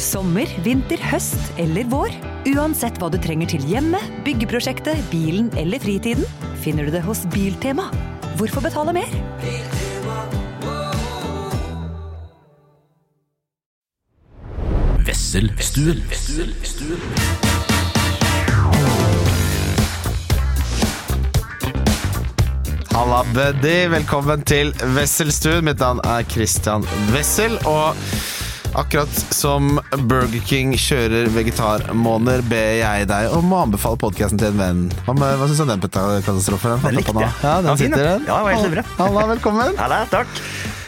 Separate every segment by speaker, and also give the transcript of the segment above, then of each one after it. Speaker 1: Sommer, vinter, høst eller vår. Uansett hva du trenger til hjemmet, byggeprosjektet, bilen eller fritiden, finner du det hos Biltema. Hvorfor betale mer?
Speaker 2: Vesselstuen.
Speaker 3: Halla, buddy. Velkommen til Wesselstuen. Mitt navn er Christian Wessel. Og akkurat som Burger King kjører vegetarmåneder, ber jeg deg om å anbefale podkasten til en venn. Hva, med- hva syns du om den peta- katastrofen? Den
Speaker 4: likte jeg.
Speaker 3: Ja,
Speaker 4: Den
Speaker 3: den
Speaker 4: var fin,
Speaker 3: sitter,
Speaker 4: den.
Speaker 3: den.
Speaker 4: Ja, den var helt suverent.
Speaker 3: Halla, velkommen.
Speaker 4: Nei, nei, takk.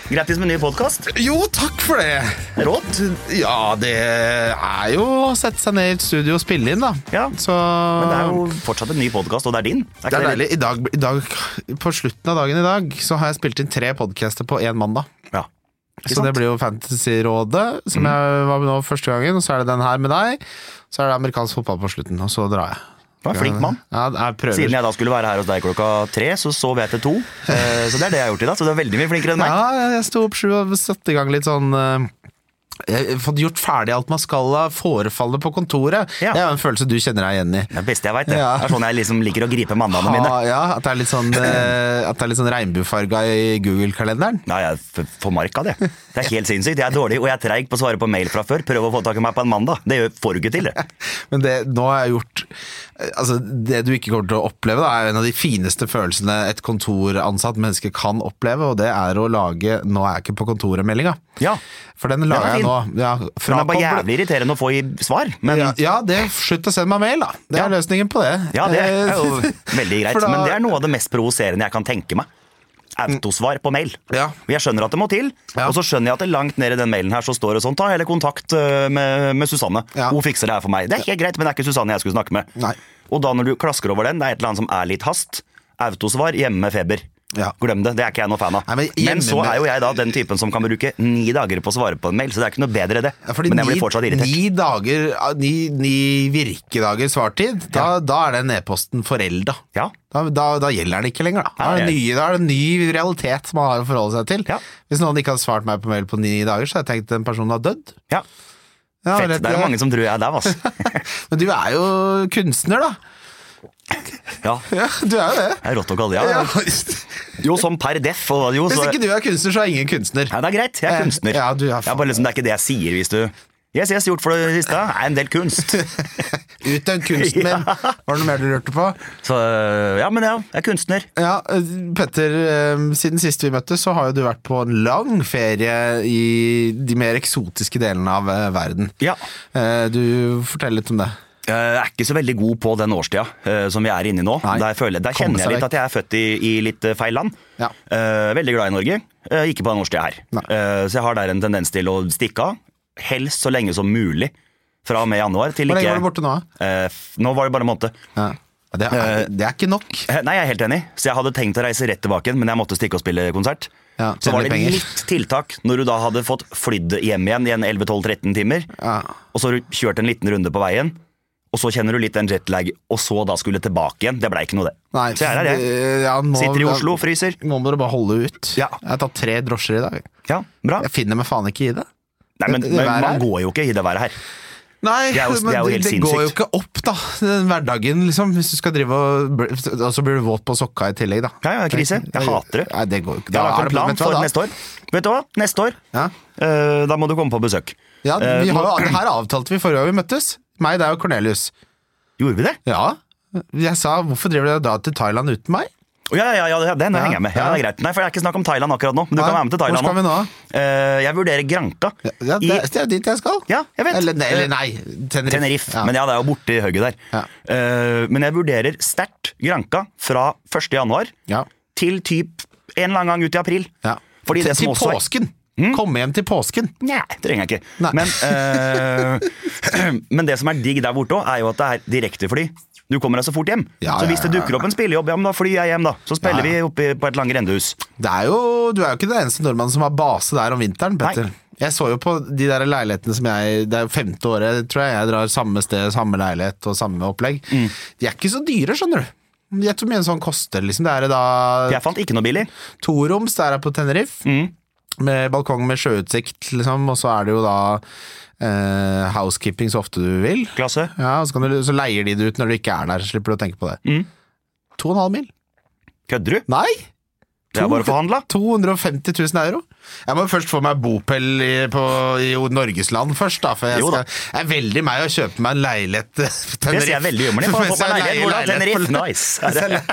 Speaker 4: Grattis med ny podkast.
Speaker 3: Jo, takk for det.
Speaker 4: Rått.
Speaker 3: Ja, det er jo å sette seg ned i et studio og spille inn, da.
Speaker 4: Ja,
Speaker 3: Så
Speaker 4: Men det er jo fortsatt en ny podkast, og det er din.
Speaker 3: det
Speaker 4: ikke
Speaker 3: er deilig. I dag, i dag, på slutten av dagen i dag så har jeg spilt inn tre podcaster på én mandag.
Speaker 4: Ja.
Speaker 3: Så
Speaker 4: Ikke
Speaker 3: det
Speaker 4: sant? Mm.
Speaker 3: blir jo Fantasyrådet, som jeg var med nå første gangen. Og så er det den her med deg. Så er det amerikansk fotball på slutten, og så drar jeg.
Speaker 4: Du er en flink mann.
Speaker 3: Ja, jeg prøver.
Speaker 4: Siden jeg da skulle være her hos deg klokka tre, så sov jeg til to. Eh, Så det er det jeg har gjort i dag. Så du er veldig mye flinkere enn meg.
Speaker 3: Ja, jeg- jeg sto opp sju og satte i gang litt sånn eh, jeg har fått gjort ferdig alt man skal av forefallet på kontoret.
Speaker 4: Ja.
Speaker 3: Det er jo en følelse du kjenner deg igjen i.
Speaker 4: Det er det beste jeg veit. Det
Speaker 3: Ja.
Speaker 4: Det er sånn jeg liksom liker å gripe mandagene mine.
Speaker 3: Ah, ja, at det er litt sånn, eh, at det er litt sånn regnbuefarga i Google-kalenderen.
Speaker 4: Nei, jeg er f- for mark av det. Det er helt sinnssykt. Jeg er dårlig, og jeg er treig på å svare på mail fra før. Prøv å få tak i meg på en mandag. Det gjør- får du ikke til. det.
Speaker 3: Men det, nå har jeg gjort Altså, det du ikke kommer til å oppleve, da, er jo en av de fineste følelsene et kontoransatt menneske kan oppleve, og det er å lage 'nå er jeg ikke på kontoret'-meldinga.
Speaker 4: Ja.
Speaker 3: For den
Speaker 4: var
Speaker 3: lager jeg
Speaker 4: fin.
Speaker 3: nå. Ja,
Speaker 4: Men det er bare
Speaker 3: frakoblet-
Speaker 4: jævlig irriterende å få i svar. Men
Speaker 3: ja, ja, det slutt å sende meg mail, da. Det er
Speaker 4: Ja.
Speaker 3: løsningen på det.
Speaker 4: Ja, det er jo
Speaker 3: Eh,
Speaker 4: veldig greit.
Speaker 3: for da-
Speaker 4: Men det er noe av det mest provoserende jeg kan tenke meg. Autosvar på mail.
Speaker 3: Ja.
Speaker 4: Jeg skjønner at det må til,
Speaker 3: Ja.
Speaker 4: og så skjønner jeg at det langt ned i den mailen her så står det sånn, ta heller kontakt eh, med, med Susanne.
Speaker 3: Ja.
Speaker 4: Hun fikser det her for meg. Det er helt greit, men det er ikke Susanne jeg skulle snakke med.
Speaker 3: Nei.
Speaker 4: Og da når du klasker over den, det er et eller annet som er litt hast. Autosvar hjemme med feber.
Speaker 3: Ja.
Speaker 4: Glem det, det er ikke jeg noe fan av.
Speaker 3: Nei, men
Speaker 4: men,
Speaker 3: hjemme
Speaker 4: så
Speaker 3: med-
Speaker 4: er jo jeg da den typen som kan bruke ni dager på å svare på en mail, så det er ikke noe bedre det.
Speaker 3: Ja, fordi
Speaker 4: men jeg blir
Speaker 3: ni-
Speaker 4: fortsatt irritert.
Speaker 3: Ni, dager, ni, ni virkedager svartid, da, da er den e-posten forelda.
Speaker 4: Ja.
Speaker 3: Da, da, da gjelder den ikke lenger, da. Da er, det
Speaker 4: Nei.
Speaker 3: nye, da er det en ny realitet man har å forholde seg til.
Speaker 4: Ja.
Speaker 3: Hvis noen ikke hadde svart meg på mail på ni dager, så hadde jeg tenkt den personen har dødd.
Speaker 4: Ja,
Speaker 3: Ja,
Speaker 4: fett.
Speaker 3: rett-
Speaker 4: Det er mange som tror jeg er der, altså.
Speaker 3: Men du er jo kunstner, da.
Speaker 4: Ja, det
Speaker 3: Ja, du er jo det.
Speaker 4: er rått å kalle det. Ja,
Speaker 3: Ja.
Speaker 4: ja. Jo, som per def. Og jo,
Speaker 3: Hvis
Speaker 4: så,
Speaker 3: ikke du er kunstner, så er ingen kunstner.
Speaker 4: Nei, det er greit, jeg er
Speaker 3: Ja,
Speaker 4: kunstner.
Speaker 3: ja, du er
Speaker 4: jeg
Speaker 3: faen-
Speaker 4: er bare liksom, det er ikke det jeg sier hvis du Yes, yes, gjort for det siste. Det er en del kunst.
Speaker 3: Utøvd kunsten min.
Speaker 4: Ja.
Speaker 3: Var det noe mer du lurte på?
Speaker 4: Så øh, ja, men ja, jeg er kunstner.
Speaker 3: Ja, eh, Petter, eh, siden sist vi møttes, så har jo du vært på en lang ferie i de mer eksotiske delene av eh, verden.
Speaker 4: Ja.
Speaker 3: Eh, Du fortell litt om det.
Speaker 4: Jeg er ikke så veldig god på den årstida øh, som vi er inne i nå.
Speaker 3: Nei.
Speaker 4: Der, føler, der
Speaker 3: Komme
Speaker 4: kjenner
Speaker 3: seg
Speaker 4: jeg litt
Speaker 3: vekk.
Speaker 4: at jeg er født i, i litt øh, feil land.
Speaker 3: Ja.
Speaker 4: Eh, veldig glad i Norge. Eh, ikke på den årstida her.
Speaker 3: Nei.
Speaker 4: Eh, så jeg har der en tendens til å stikke av. Helst så lenge som mulig. Fra og med januar til
Speaker 3: Hvor lenge
Speaker 4: ikke
Speaker 3: var du borte nå? da?
Speaker 4: Eh, f- nå var det bare en måned.
Speaker 3: Ja. Ja, Det, er, det er ikke nok.
Speaker 4: Eh, Nei, jeg er helt enig. Så jeg hadde tenkt å reise rett tilbake, igjen, men jeg måtte stikke og spille konsert.
Speaker 3: Ja,
Speaker 4: så var
Speaker 3: tjene
Speaker 4: det
Speaker 3: penger.
Speaker 4: litt tiltak når du da hadde fått flydd hjem igjen i en 11-12-13 timer,
Speaker 3: Ja.
Speaker 4: og så har du kjørt en liten runde på veien, og så kjenner du litt den jetlag, og så da skulle tilbake igjen. Det blei ikke noe, det.
Speaker 3: Nei,
Speaker 4: så jeg er her, jeg.
Speaker 3: eh, ja, nå-
Speaker 4: Sitter i Oslo, fryser.
Speaker 3: Nå må du bare holde ut.
Speaker 4: Ja.
Speaker 3: Jeg har tatt tre drosjer i dag.
Speaker 4: Ja, bra.
Speaker 3: Jeg finner meg faen ikke i det.
Speaker 4: Nei, men,
Speaker 3: det- det
Speaker 4: men
Speaker 3: været
Speaker 4: man
Speaker 3: her?
Speaker 4: går jo ikke i det været her.
Speaker 3: Nei,
Speaker 4: Det er jo- det er jo
Speaker 3: men det,
Speaker 4: helt
Speaker 3: det går jo
Speaker 4: sinnssykt.
Speaker 3: ikke opp, da. Den hverdagen, liksom. Hvis du skal drive og bl- Og så blir du våt på sokka i tillegg, da.
Speaker 4: Ja, ja, krise. Jeg hater det.
Speaker 3: Nei, det går jo ikke.
Speaker 4: Jeg
Speaker 3: Da
Speaker 4: har
Speaker 3: er
Speaker 4: lagt en
Speaker 3: det-
Speaker 4: plan
Speaker 3: vet du hva,
Speaker 4: for
Speaker 3: da-
Speaker 4: neste år. Vet du hva? Neste år,
Speaker 3: Ja.
Speaker 4: eh, da må du komme på besøk.
Speaker 3: Ja,
Speaker 4: Eh,
Speaker 3: vi
Speaker 4: nå-
Speaker 3: har, jo- det her avtalte vi forrige gang vi møttes. Meg, deg og Cornelius.
Speaker 4: Gjorde vi det?
Speaker 3: Ja. Jeg sa 'hvorfor driver dere da til Thailand uten meg'?
Speaker 4: Å, Ja, ja, ja, ja, den
Speaker 3: Ja,
Speaker 4: henger jeg med. Ja,
Speaker 3: ja.
Speaker 4: det er greit. Nei, for Det er ikke snakk om Thailand akkurat nå. Men du
Speaker 3: Nei,
Speaker 4: kan være med til Thailand
Speaker 3: hvor skal vi nå?
Speaker 4: Eh, jeg vurderer Granka.
Speaker 3: Ja, det,
Speaker 4: i
Speaker 3: det er jo dit jeg skal.
Speaker 4: Ja, jeg vet.
Speaker 3: Eller, nei, eller
Speaker 4: Eh,
Speaker 3: nei, Tenerife.
Speaker 4: Tenerife.
Speaker 3: Ja.
Speaker 4: Men ja, det er jo borte i hugget der.
Speaker 3: Ja.
Speaker 4: Eh, men jeg vurderer sterkt Granka fra 1. januar
Speaker 3: Ja.
Speaker 4: til typ en eller annen gang ut i april.
Speaker 3: Ja.
Speaker 4: Fordi
Speaker 3: til
Speaker 4: det
Speaker 3: til
Speaker 4: som også er- Hmm?
Speaker 3: påsken! Komme hjem til påsken.
Speaker 4: Nei, det trenger jeg ikke.
Speaker 3: Nei.
Speaker 4: Men, eh, men det som er digg der borte òg, er jo at det er direktefly. Du kommer deg så fort hjem.
Speaker 3: Ja,
Speaker 4: så
Speaker 3: ja,
Speaker 4: hvis det
Speaker 3: ja,
Speaker 4: dukker opp en spillejobb, ja, men da flyr jeg hjem, da. Så spiller
Speaker 3: Ja, ja.
Speaker 4: vi oppe på et langt grendehus.
Speaker 3: Det er jo, du er jo ikke den eneste nordmannen som har base der om vinteren, Petter.
Speaker 4: Nei.
Speaker 3: Jeg så jo på de der leilighetene som jeg Det er jo femte året, tror jeg, jeg drar samme sted, samme leilighet og samme opplegg.
Speaker 4: Mm.
Speaker 3: De er ikke så dyre, skjønner du. Gjett hvor mye en sånn koster, liksom. Det er da
Speaker 4: Jeg fant ikke noe billig. Mm.
Speaker 3: toroms, det er på Tenerife. med balkong med sjøutsikt, liksom, og så er det jo da eh, housekeeping så ofte du vil.
Speaker 4: Klasse.
Speaker 3: Ja, og så, kan du, så leier de det ut når du ikke er der, så slipper du å tenke på det.
Speaker 4: Mm.
Speaker 3: To og en halv mil?
Speaker 4: Kødder du?
Speaker 3: Nei!
Speaker 4: Det er bare å forhandle.
Speaker 3: 250 000 euro. Jeg må først få meg bopel i, på, i Norgesland først, da. For jeg,
Speaker 4: Jo
Speaker 3: skal,
Speaker 4: da.
Speaker 3: jeg er veldig meg å kjøpe meg en leilighet eh, på
Speaker 4: Det ser jeg veldig jævlig på.
Speaker 3: Mens jeg
Speaker 4: Leilighet,
Speaker 3: leier
Speaker 4: hvordan?
Speaker 3: leilighet på-
Speaker 4: Tenerife? Nice.
Speaker 3: Mens jeg le-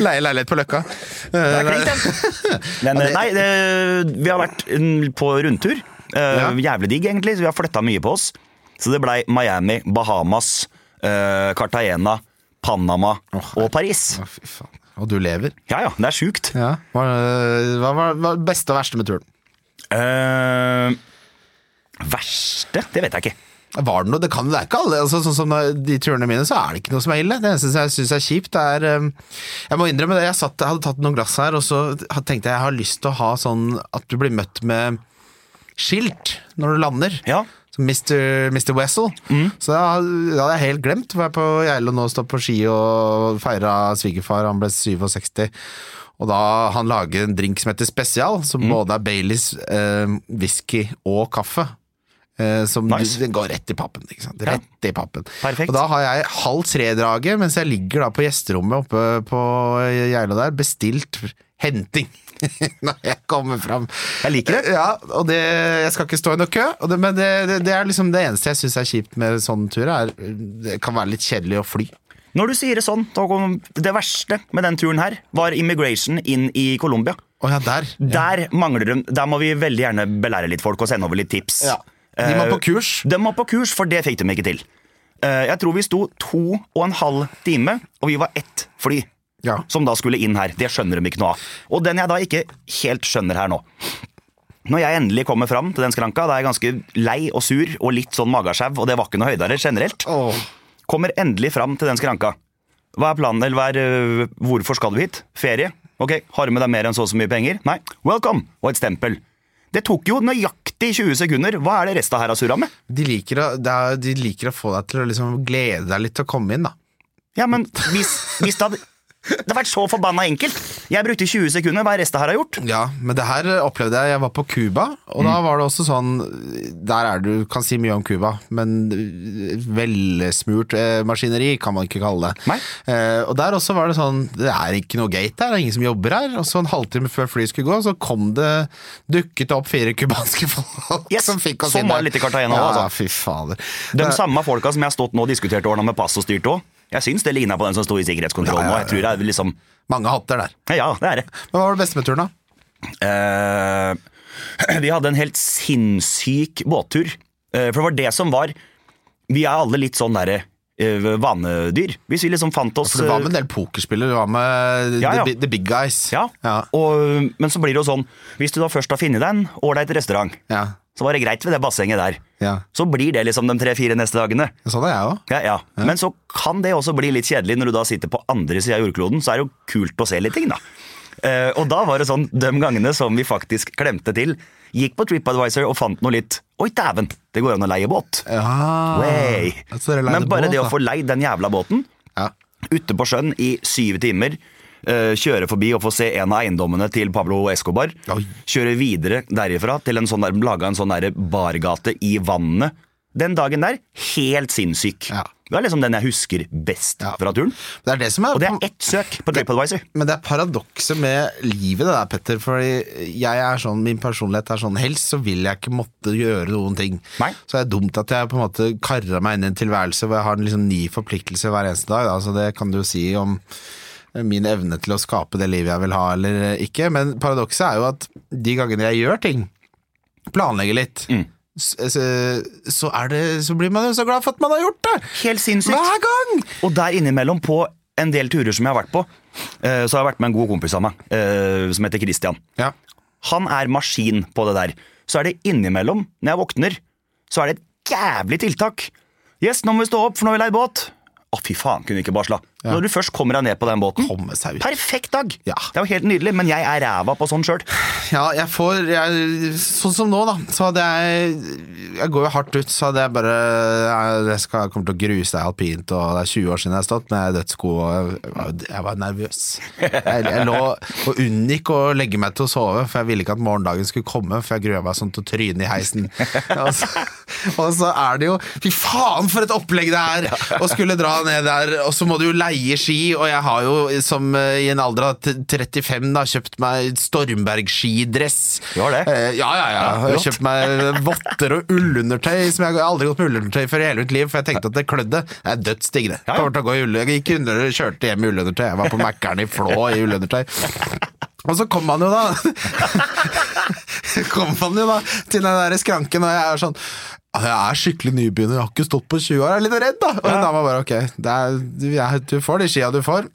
Speaker 3: leier leilighet på Løkka.
Speaker 4: Det er klink, den. Men eh, nei, det, vi har vært mm, på rundtur. Eh, Jævlig digg, egentlig. Så vi har flytta mye på oss. Så det blei Miami, Bahamas, eh, Cartagena, Panama og Paris.
Speaker 3: Å, fy faen. Og du lever.
Speaker 4: Ja ja, det er sjukt.
Speaker 3: Ja. Hva hva var det beste og verste med turen?
Speaker 4: Eh, verste? Det vet jeg ikke.
Speaker 3: Var det noe? Det kan det er ikke alle. Altså, sånn som de turene mine, så er det ikke noe som er ille. Det eneste jeg syns er kjipt, er um, Jeg må innrømme det. Jeg, satt, jeg hadde tatt noen glass her, og så tenkte jeg jeg har lyst til å ha sånn at du blir møtt med skilt når du lander.
Speaker 4: Ja.
Speaker 3: Som Mr. Mr. Wessel.
Speaker 4: Mm.
Speaker 3: Så det hadde det hadde jeg helt glemt. Var jeg på Geilo nå og stod på ski og feira svigerfar, han ble 67. Og da han lager en drink som heter Spesial, som
Speaker 4: Mm.
Speaker 3: både er Baileys, eh, whisky og kaffe. Eh, som
Speaker 4: Nice.
Speaker 3: du, den går rett i pappen. Ikke sant? Rett i pappen.
Speaker 4: Perfekt.
Speaker 3: Og da har jeg halv tre-draget, mens jeg ligger da på gjesterommet oppe på Geilo der, bestilt henting. Når jeg kommer fram.
Speaker 4: Jeg liker det.
Speaker 3: Ja, og det, jeg skal ikke stå i noe kø, og det, men det, det, det er liksom det eneste jeg syns er kjipt med sånne turer. Er, det kan være litt kjedelig å fly.
Speaker 4: Når du sier det sånn, da kom- det verste med den turen her var immigration inn i Colombia.
Speaker 3: Å ja, der.
Speaker 4: Der mangler de Der må vi veldig gjerne belære litt folk og sende over litt tips.
Speaker 3: Ja. De må
Speaker 4: Eh,
Speaker 3: på kurs.
Speaker 4: De må på kurs, for det fikk de ikke til. Eh, Jeg tror vi sto to og en halv time, og vi var ett fly
Speaker 3: Ja.
Speaker 4: som da skulle inn her. Det skjønner de ikke noe av. Og den jeg da ikke helt skjønner her nå. Når jeg endelig kommer fram til den skranka, da er jeg ganske lei og sur og litt sånn magasjau, og det var ikke noe høydere generelt.
Speaker 3: Åh.
Speaker 4: Kommer endelig fram til den skranka. Hva er planen, eller hva er, øh, hvorfor skal du hit? Ferie? Ok, har du med deg mer enn så og så mye penger? Nei, welcome! Og et stempel. Det tok jo nøyaktig 20 sekunder. Hva er det resten her har surra med?
Speaker 3: De, liker å, det er, de liker å få deg til å liksom glede deg litt til å komme inn, da.
Speaker 4: Ja, men hvis, hvis det hadde Det hadde vært så forbanna enkelt! Jeg brukte 20 sekunder. Hva er resten her har gjort?
Speaker 3: Ja, men det her opplevde jeg. Jeg var på Cuba, og
Speaker 4: Mm.
Speaker 3: da var det også sånn Der er du, kan si mye om Cuba, men velsmurt eh, maskineri kan man ikke kalle det.
Speaker 4: Nei.
Speaker 3: Eh, og der også var det sånn Det er ikke noe gate her, det er ingen som jobber her. Og så en halvtime før flyet skulle gå, så kom det dukket det opp fire cubanske folk
Speaker 4: Yes,
Speaker 3: som fikk oss
Speaker 4: sånn
Speaker 3: inn.
Speaker 4: var
Speaker 3: der.
Speaker 4: det litt i Cartagena
Speaker 3: ja,
Speaker 4: også, altså.
Speaker 3: Fy fader.
Speaker 4: De samme folka som jeg har stått nå og diskutert ordna med pass og styrt òg. Jeg syns det ligna på den som sto i sikkerhetskontrollen nå. Jeg tror det er liksom
Speaker 3: Mange hatter der.
Speaker 4: Ja, det er det.
Speaker 3: Men hva var det beste med turen, da?
Speaker 4: Eh, vi hadde en helt sinnssyk båttur. Eh, for det var det som var Vi er alle litt sånn derre eh, vanedyr. Hvis vi liksom fant oss
Speaker 3: For du var med en del pokerspillere, du var med
Speaker 4: Ja, ja.
Speaker 3: The, Bi- the Big Guys.
Speaker 4: Ja,
Speaker 3: ja.
Speaker 4: Og, men så blir det jo sånn Hvis du da først har funnet deg en ålreit restaurant,
Speaker 3: ja.
Speaker 4: så var det greit ved det bassenget der.
Speaker 3: ja.
Speaker 4: Så blir det liksom de tre-fire neste dagene.
Speaker 3: Sånn er jeg òg.
Speaker 4: Ja, ja. Men så kan det også bli litt kjedelig når du da sitter på andre sida av jordkloden. Så er det jo kult å se litt ting, da. Eh, og da var det sånn, de gangene som vi faktisk klemte til, gikk på TripAdvisor og fant noe litt Oi, dæven! Det går an å leie båt.
Speaker 3: Ja.
Speaker 4: Way.
Speaker 3: Ah, Så dere leide
Speaker 4: Men bare
Speaker 3: båt,
Speaker 4: det å
Speaker 3: da.
Speaker 4: få leid den jævla båten
Speaker 3: ja.
Speaker 4: ute på sjøen i syv timer, eh, kjøre forbi og få se en av eiendommene til Pablo Escobar,
Speaker 3: Oi.
Speaker 4: kjøre videre derifra til en sånn der, laga en sånn der bargate i vannet. Den dagen der, helt sinnssyk.
Speaker 3: Ja.
Speaker 4: Det er liksom den jeg husker best
Speaker 3: Ja.
Speaker 4: fra turen.
Speaker 3: Det er det som er,
Speaker 4: Og det er ett søk på TripAdvisor.
Speaker 3: Men det er paradokset med livet det der, Petter. Fordi jeg er sånn, min personlighet er sånn Helst så vil jeg ikke måtte gjøre noen ting.
Speaker 4: Nei.
Speaker 3: Så det er dumt at jeg på en måte karra meg inn i en tilværelse hvor jeg har en liksom ny forpliktelse hver eneste dag. Da. Så det kan du jo si om min evne til å skape det livet jeg vil ha eller ikke. Men paradokset er jo at de gangene jeg gjør ting, planlegger litt,
Speaker 4: Mm.
Speaker 3: s- s- så, er det, så blir man jo så glad for at man har gjort det!
Speaker 4: Helt sinnssykt.
Speaker 3: Hver gang!
Speaker 4: Og der innimellom, på en del turer som jeg har vært på, eh, så har jeg vært med en god kompis av meg, eh, som heter Christian.
Speaker 3: Ja.
Speaker 4: Han er maskin på det der. Så er det innimellom, når jeg våkner, så er det et jævlig tiltak. Yes, nå må vi stå opp, for nå har vi leid båt. Å, fy faen, kunne ikke bare slå. Når du først kommer deg ned på den båten
Speaker 3: Komme seg ut.
Speaker 4: Perfekt dag!
Speaker 3: Ja.
Speaker 4: Det er jo helt nydelig, men jeg er ræva på sånn sjøl.
Speaker 3: Ja, jeg får jeg, Sånn som nå, da. Så hadde jeg Jeg går jo hardt ut, så hadde jeg bare eh, Jeg, jeg skal, jeg kommer til å gruse deg alpint, og det er 20 år siden jeg har stått med dødssko, og jeg var, jo- jeg var nervøs. Jeg, jeg lå og unngikk å legge meg til å sove, for jeg ville ikke at morgendagen skulle komme, for jeg grua meg sånn til å tryne i heisen. Og så, og så er det jo Fy faen, for et opplegg det er! Å skulle dra ned der, og så må du jo leie ski, og jeg har jo som eh, i en alder av t- 35 da kjøpt meg Stormberg-skidress.
Speaker 4: Du har det?
Speaker 3: Eh, ja, ja, ja. Jeg har
Speaker 4: flott.
Speaker 3: kjøpt meg votter og ullundertøy, som jeg jeg har aldri gått med ullundertøy for i hele mitt liv, for jeg tenkte at det klødde. Det er dødsdigg, det.
Speaker 4: ja.
Speaker 3: Kommer til å gå i ulle. Jeg gikk under og kjørte hjem i ullundertøy. Jeg var på Mækkern i Flå i ullundertøy. Og så kom han jo, da kom han jo da til den der skranken, og jeg er sånn «Ah, jeg er skikkelig nybegynner, jeg har ikke stått på 20 år, jeg er litt redd da. Og dama bare, ok, det er, du, jeg, du får de skia du får.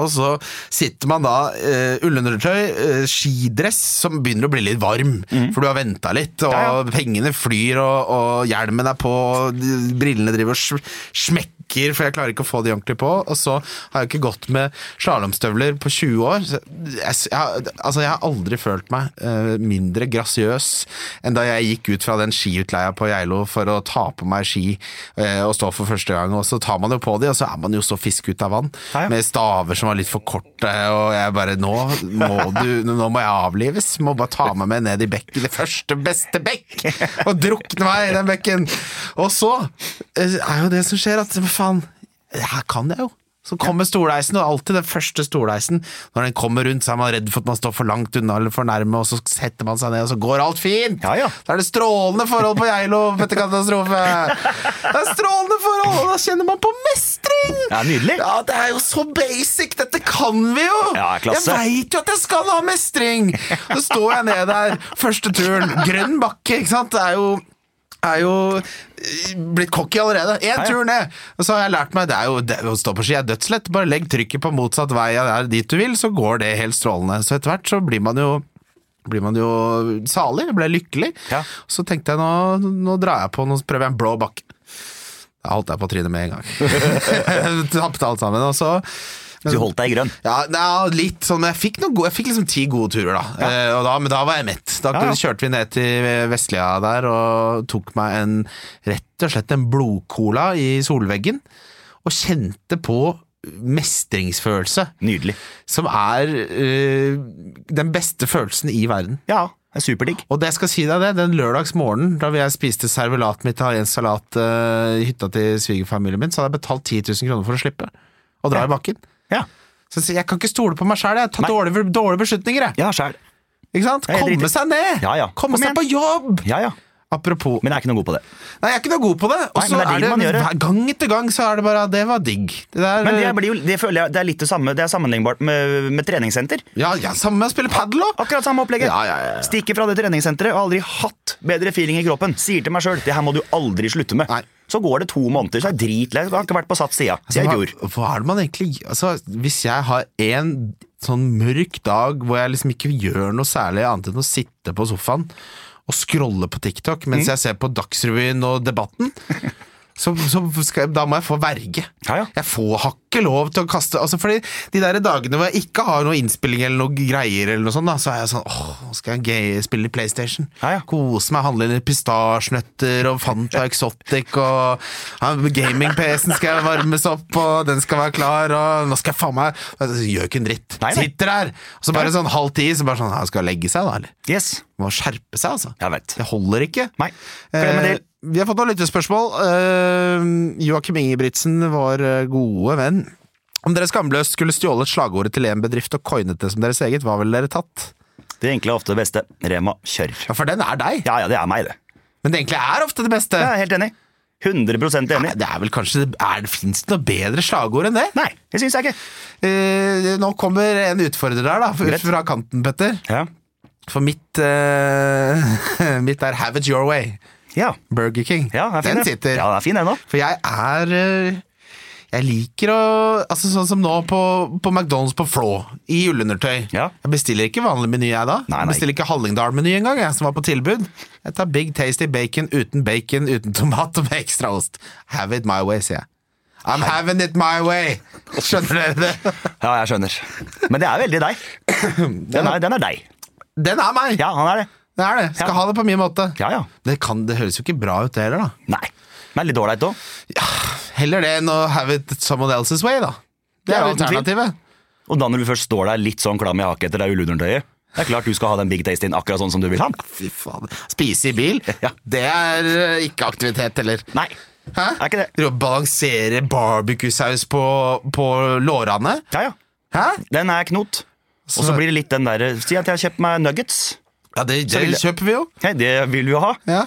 Speaker 3: Og så sitter man da, uh, ullundertøy, eh, skidress, som begynner å bli litt varm, for du har ventet litt, og
Speaker 4: Mm. Ja,
Speaker 3: pengene flyr, og, og hjelmen er på, og de- brillene driver og sm- smekker, for jeg klarer ikke å få de ordentlig på, og så har jeg ikke gått med slalomstøvler på 20 år. Så jeg, s- jeg, har- altså, jeg har aldri følt meg eh, mindre grasiøs enn da jeg gikk ut fra den skiutleia på Geilo for å ta på meg ski eh, og stå for første gang, og så tar man jo på de, og så er man jo så fisk ut av vann,
Speaker 4: Ja, ja.
Speaker 3: med staver som var litt for korte, og jeg bare, nå må, du, nå må jeg avlives, må bare ta meg med ned i bekken, det første beste bekk, og drukne meg i den bekken. Og så eh, er jo det som skjer at, men faen, her kan jeg jo. Så kommer stoleisen, og alltid den første stoleisen, når den kommer rundt, så er man redd for at man står for langt unna eller for nærme, og så setter man seg ned, og så går alt fint.
Speaker 4: Ja, ja.
Speaker 3: Da er det strålende forhold på Geilo etter katastrofe. Det er strålende forhold, og da kjenner man på mestring!
Speaker 4: Ja, nydelig.
Speaker 3: Ja, det er jo så basic! Dette kan vi jo!
Speaker 4: Ja, klasse.
Speaker 3: Jeg veit jo at jeg skal ha mestring! Så står jeg ned der, første turen. Grønn bakke, ikke sant? Det er jo er jo eh, blitt cocky allerede. Én
Speaker 4: ja.
Speaker 3: tur ned! Og så har jeg lært meg det er jo det å stå på ski er dødslett. Bare legg trykket på motsatt vei av der dit du vil, så går det helt strålende. Så etter hvert så blir man jo blir man jo salig, ble lykkelig.
Speaker 4: Ja.
Speaker 3: Så tenkte jeg nå, nå drar jeg på, nå prøver jeg en blå bakke. Da holdt jeg på trynet med en gang. Tapte alt sammen. Og så
Speaker 4: Du holdt deg i grønn.
Speaker 3: ja, nei, litt sånn, men jeg fikk, noen gode, jeg fikk liksom ti gode turer, da. Eh, og da. Men da var jeg mett. Da
Speaker 4: Ja, ja.
Speaker 3: kjørte vi ned til Vestlia der og tok meg en rett og slett en blodcola i solveggen. Og kjente på mestringsfølelse,
Speaker 4: Nydelig.
Speaker 3: som er eh, den beste følelsen i verden.
Speaker 4: Ja, det er superdigg.
Speaker 3: Og det jeg skal si deg det, den lørdagsmorgenen da jeg spiste servelat med italiensk salat eh, i hytta til svigerfamilien min, så hadde jeg betalt 10 000 kroner for å slippe å dra i bakken.
Speaker 4: Ja,
Speaker 3: Så jeg sier, jeg kan ikke stole på meg sjæl, jeg tar
Speaker 4: Nei.
Speaker 3: dårlige, dårlige beslutninger. Jeg.
Speaker 4: ja sjæl.
Speaker 3: Ikke sant?
Speaker 4: Jeg er
Speaker 3: Komme
Speaker 4: dritig.
Speaker 3: seg ned!
Speaker 4: Ja, ja.
Speaker 3: Komme
Speaker 4: Kom
Speaker 3: seg
Speaker 4: igjen.
Speaker 3: på jobb!
Speaker 4: Ja, ja.
Speaker 3: Apropos
Speaker 4: Men jeg er ikke noe god på det.
Speaker 3: Nei, jeg er ikke noe god på det. Og
Speaker 4: Nei,
Speaker 3: så
Speaker 4: men det er
Speaker 3: er
Speaker 4: det
Speaker 3: det
Speaker 4: man gjør, ja.
Speaker 3: hver gang etter gang så er det bare at det var digg. Det der,
Speaker 4: Men det, blir jo, det føler jeg det er litt det samme. Det er sammenlignbart med, med treningssenter.
Speaker 3: ja, ja, samme med å spille padel òg.
Speaker 4: Akkurat samme opplegget.
Speaker 3: Ja, ja, ja.
Speaker 4: Stikke fra det treningssenteret og aldri hatt bedre feeling i kroppen. Sier til meg sjøl det her må du aldri slutte med.
Speaker 3: Nei. Altså,
Speaker 4: Så går det to måneder, så er jeg dritlei. Jeg har ikke vært på SATS sida siden i
Speaker 3: hva,
Speaker 4: fjor.
Speaker 3: hva er det man egentlig altså, Hvis jeg har en sånn mørk dag hvor jeg liksom ikke gjør noe særlig annet enn å sitte på sofaen og scrolle på TikTok
Speaker 4: Mm.
Speaker 3: mens jeg ser på Dagsrevyen og Debatten, så, så skal, jeg- da må jeg få verge.
Speaker 4: Ja, ja.
Speaker 3: Jeg får har ikke lov til å kaste altså Fordi de der dagene hvor jeg ikke har noe innspilling eller noe greier, eller noe sånt, da, så er jeg sånn åh, nå skal jeg gay, spille i PlayStation.
Speaker 4: Ja, ja.
Speaker 3: Kose meg, handle litt pistasjenøtter og Fanta Exotic og ja, gaming-PC-en skal varmes opp, og den skal være klar, og nå skal jeg faen meg altså, Gjør ikke en dritt.
Speaker 4: Nei, nei.
Speaker 3: Sitter der, og så bare sånn halv ti, så bare sånn «Ja, Skal jeg legge seg, da, eller?
Speaker 4: Yes,
Speaker 3: Må skjerpe seg, altså.
Speaker 4: jeg vet.
Speaker 3: Det holder ikke.
Speaker 4: Nei. Glem en
Speaker 3: Eh,
Speaker 4: del.
Speaker 3: vi har fått noen lyttespørsmål. Eh, Joakim Ingebrigtsen, vår eh, gode venn. Om dere skamløst skulle stjålet slagordet til en bedrift og coinet det som deres eget, hva ville dere tatt?
Speaker 4: Det er egentlig ofte det beste. Rema, kjør.
Speaker 3: Ja, for den er deg.
Speaker 4: Ja ja, det er meg, det.
Speaker 3: Men det egentlig er ofte det beste.
Speaker 4: Jeg er helt enig. 100
Speaker 3: Nei,
Speaker 4: enig.
Speaker 3: det er vel kanskje er, Fins det noe bedre slagord enn det?
Speaker 4: Nei, det syns jeg ikke.
Speaker 3: Eh, nå kommer en utfordrer der, da. Fra,
Speaker 4: Greit.
Speaker 3: fra kanten, Petter.
Speaker 4: Ja.
Speaker 3: For mitt, eh, mitt er 'Have it your way'.
Speaker 4: Ja,
Speaker 3: Burger King.
Speaker 4: ja den er fin,
Speaker 3: den
Speaker 4: den.
Speaker 3: sitter.
Speaker 4: Ja, den er fin, den òg.
Speaker 3: For jeg er eh, Jeg liker å Altså Sånn som nå på, på McDonald's på Flå, i ullundertøy.
Speaker 4: Ja.
Speaker 3: Jeg bestiller ikke vanlig meny, jeg da.
Speaker 4: Nei, nei.
Speaker 3: Jeg bestiller ikke Hallingdal-meny engang, jeg som var på tilbud. Jeg tar Big Tasty Bacon uten bacon, uten tomat og med ekstra ost. Have it my way, sier jeg. I'm having it my way! Skjønner dere det?
Speaker 4: Ja, jeg skjønner. Men det er veldig deg. Den er, den er deg.
Speaker 3: Den er meg!
Speaker 4: Ja, han er det.
Speaker 3: Det er det. Skal
Speaker 4: Ja.
Speaker 3: ha det på min måte.
Speaker 4: Ja, ja.
Speaker 3: Det, kan, det høres jo ikke bra ut, det heller, da.
Speaker 4: Nei. Men litt ålreit òg.
Speaker 3: Heller det enn å have it someone else's way, da. Det er
Speaker 4: Ja,
Speaker 3: jo
Speaker 4: uten tvil.
Speaker 3: alternativet.
Speaker 4: Og da når du først står der litt sånn klam i hake etter deg ullundertøyet, det er klart du skal ha den big taste in akkurat sånn som du vil ha den.
Speaker 3: Fy faen. Spise i bil,
Speaker 4: Ja.
Speaker 3: det er eh, ikke aktivitet heller.
Speaker 4: Nei.
Speaker 3: Hæ?
Speaker 4: Er ikke det.
Speaker 3: Driver og Balansere barbecue-saus på, på lårene?
Speaker 4: Ja, ja.
Speaker 3: Hæ?
Speaker 4: Den er knot. Og så blir det litt den derre Si at jeg har kjøpt meg nuggets.
Speaker 3: Ja, det, det
Speaker 4: vil jeg-
Speaker 3: kjøper vi jo.
Speaker 4: Hei, det vil vi jo ha.
Speaker 3: Ja.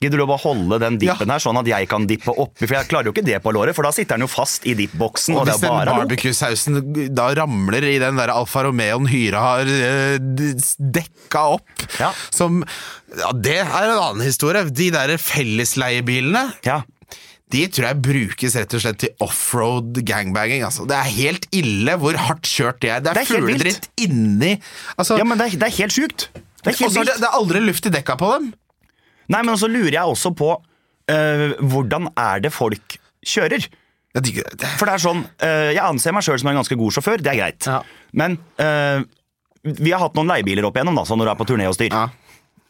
Speaker 4: Gidder du å bare holde den dippen
Speaker 3: Ja.
Speaker 4: her, sånn at jeg kan dippe oppi? For jeg klarer jo ikke det på låret, for da sitter den jo fast i dippboksen.
Speaker 3: Og
Speaker 4: Og, det
Speaker 3: hvis
Speaker 4: er
Speaker 3: den
Speaker 4: bare
Speaker 3: barbecue-sausen da ramler i den der Alfa Romeoen Hyra har eh, d- dekka opp
Speaker 4: Ja.
Speaker 3: som Ja, det er en annen historie. De der fellesleiebilene,
Speaker 4: Ja.
Speaker 3: de tror jeg brukes rett og slett til offroad gangbanging. Altså. Det er helt ille hvor hardt kjørt det er. Det er,
Speaker 4: Det er helt
Speaker 3: fugledritt inni altså,
Speaker 4: ja, men det er, det er helt sjukt. Det er
Speaker 3: Og
Speaker 4: helt
Speaker 3: så er det,
Speaker 4: vilt.
Speaker 3: det er aldri luft i dekka på dem.
Speaker 4: Nei, men så lurer jeg også på eh, hvordan er det folk kjører?
Speaker 3: Jeg digger det.
Speaker 4: For det er sånn, eh, jeg anser meg sjøl som en ganske god sjåfør, det er greit.
Speaker 3: Ja.
Speaker 4: Men eh, vi har hatt noen leiebiler opp igjennom, da, sånn når du er på turné og styr.
Speaker 3: Ja.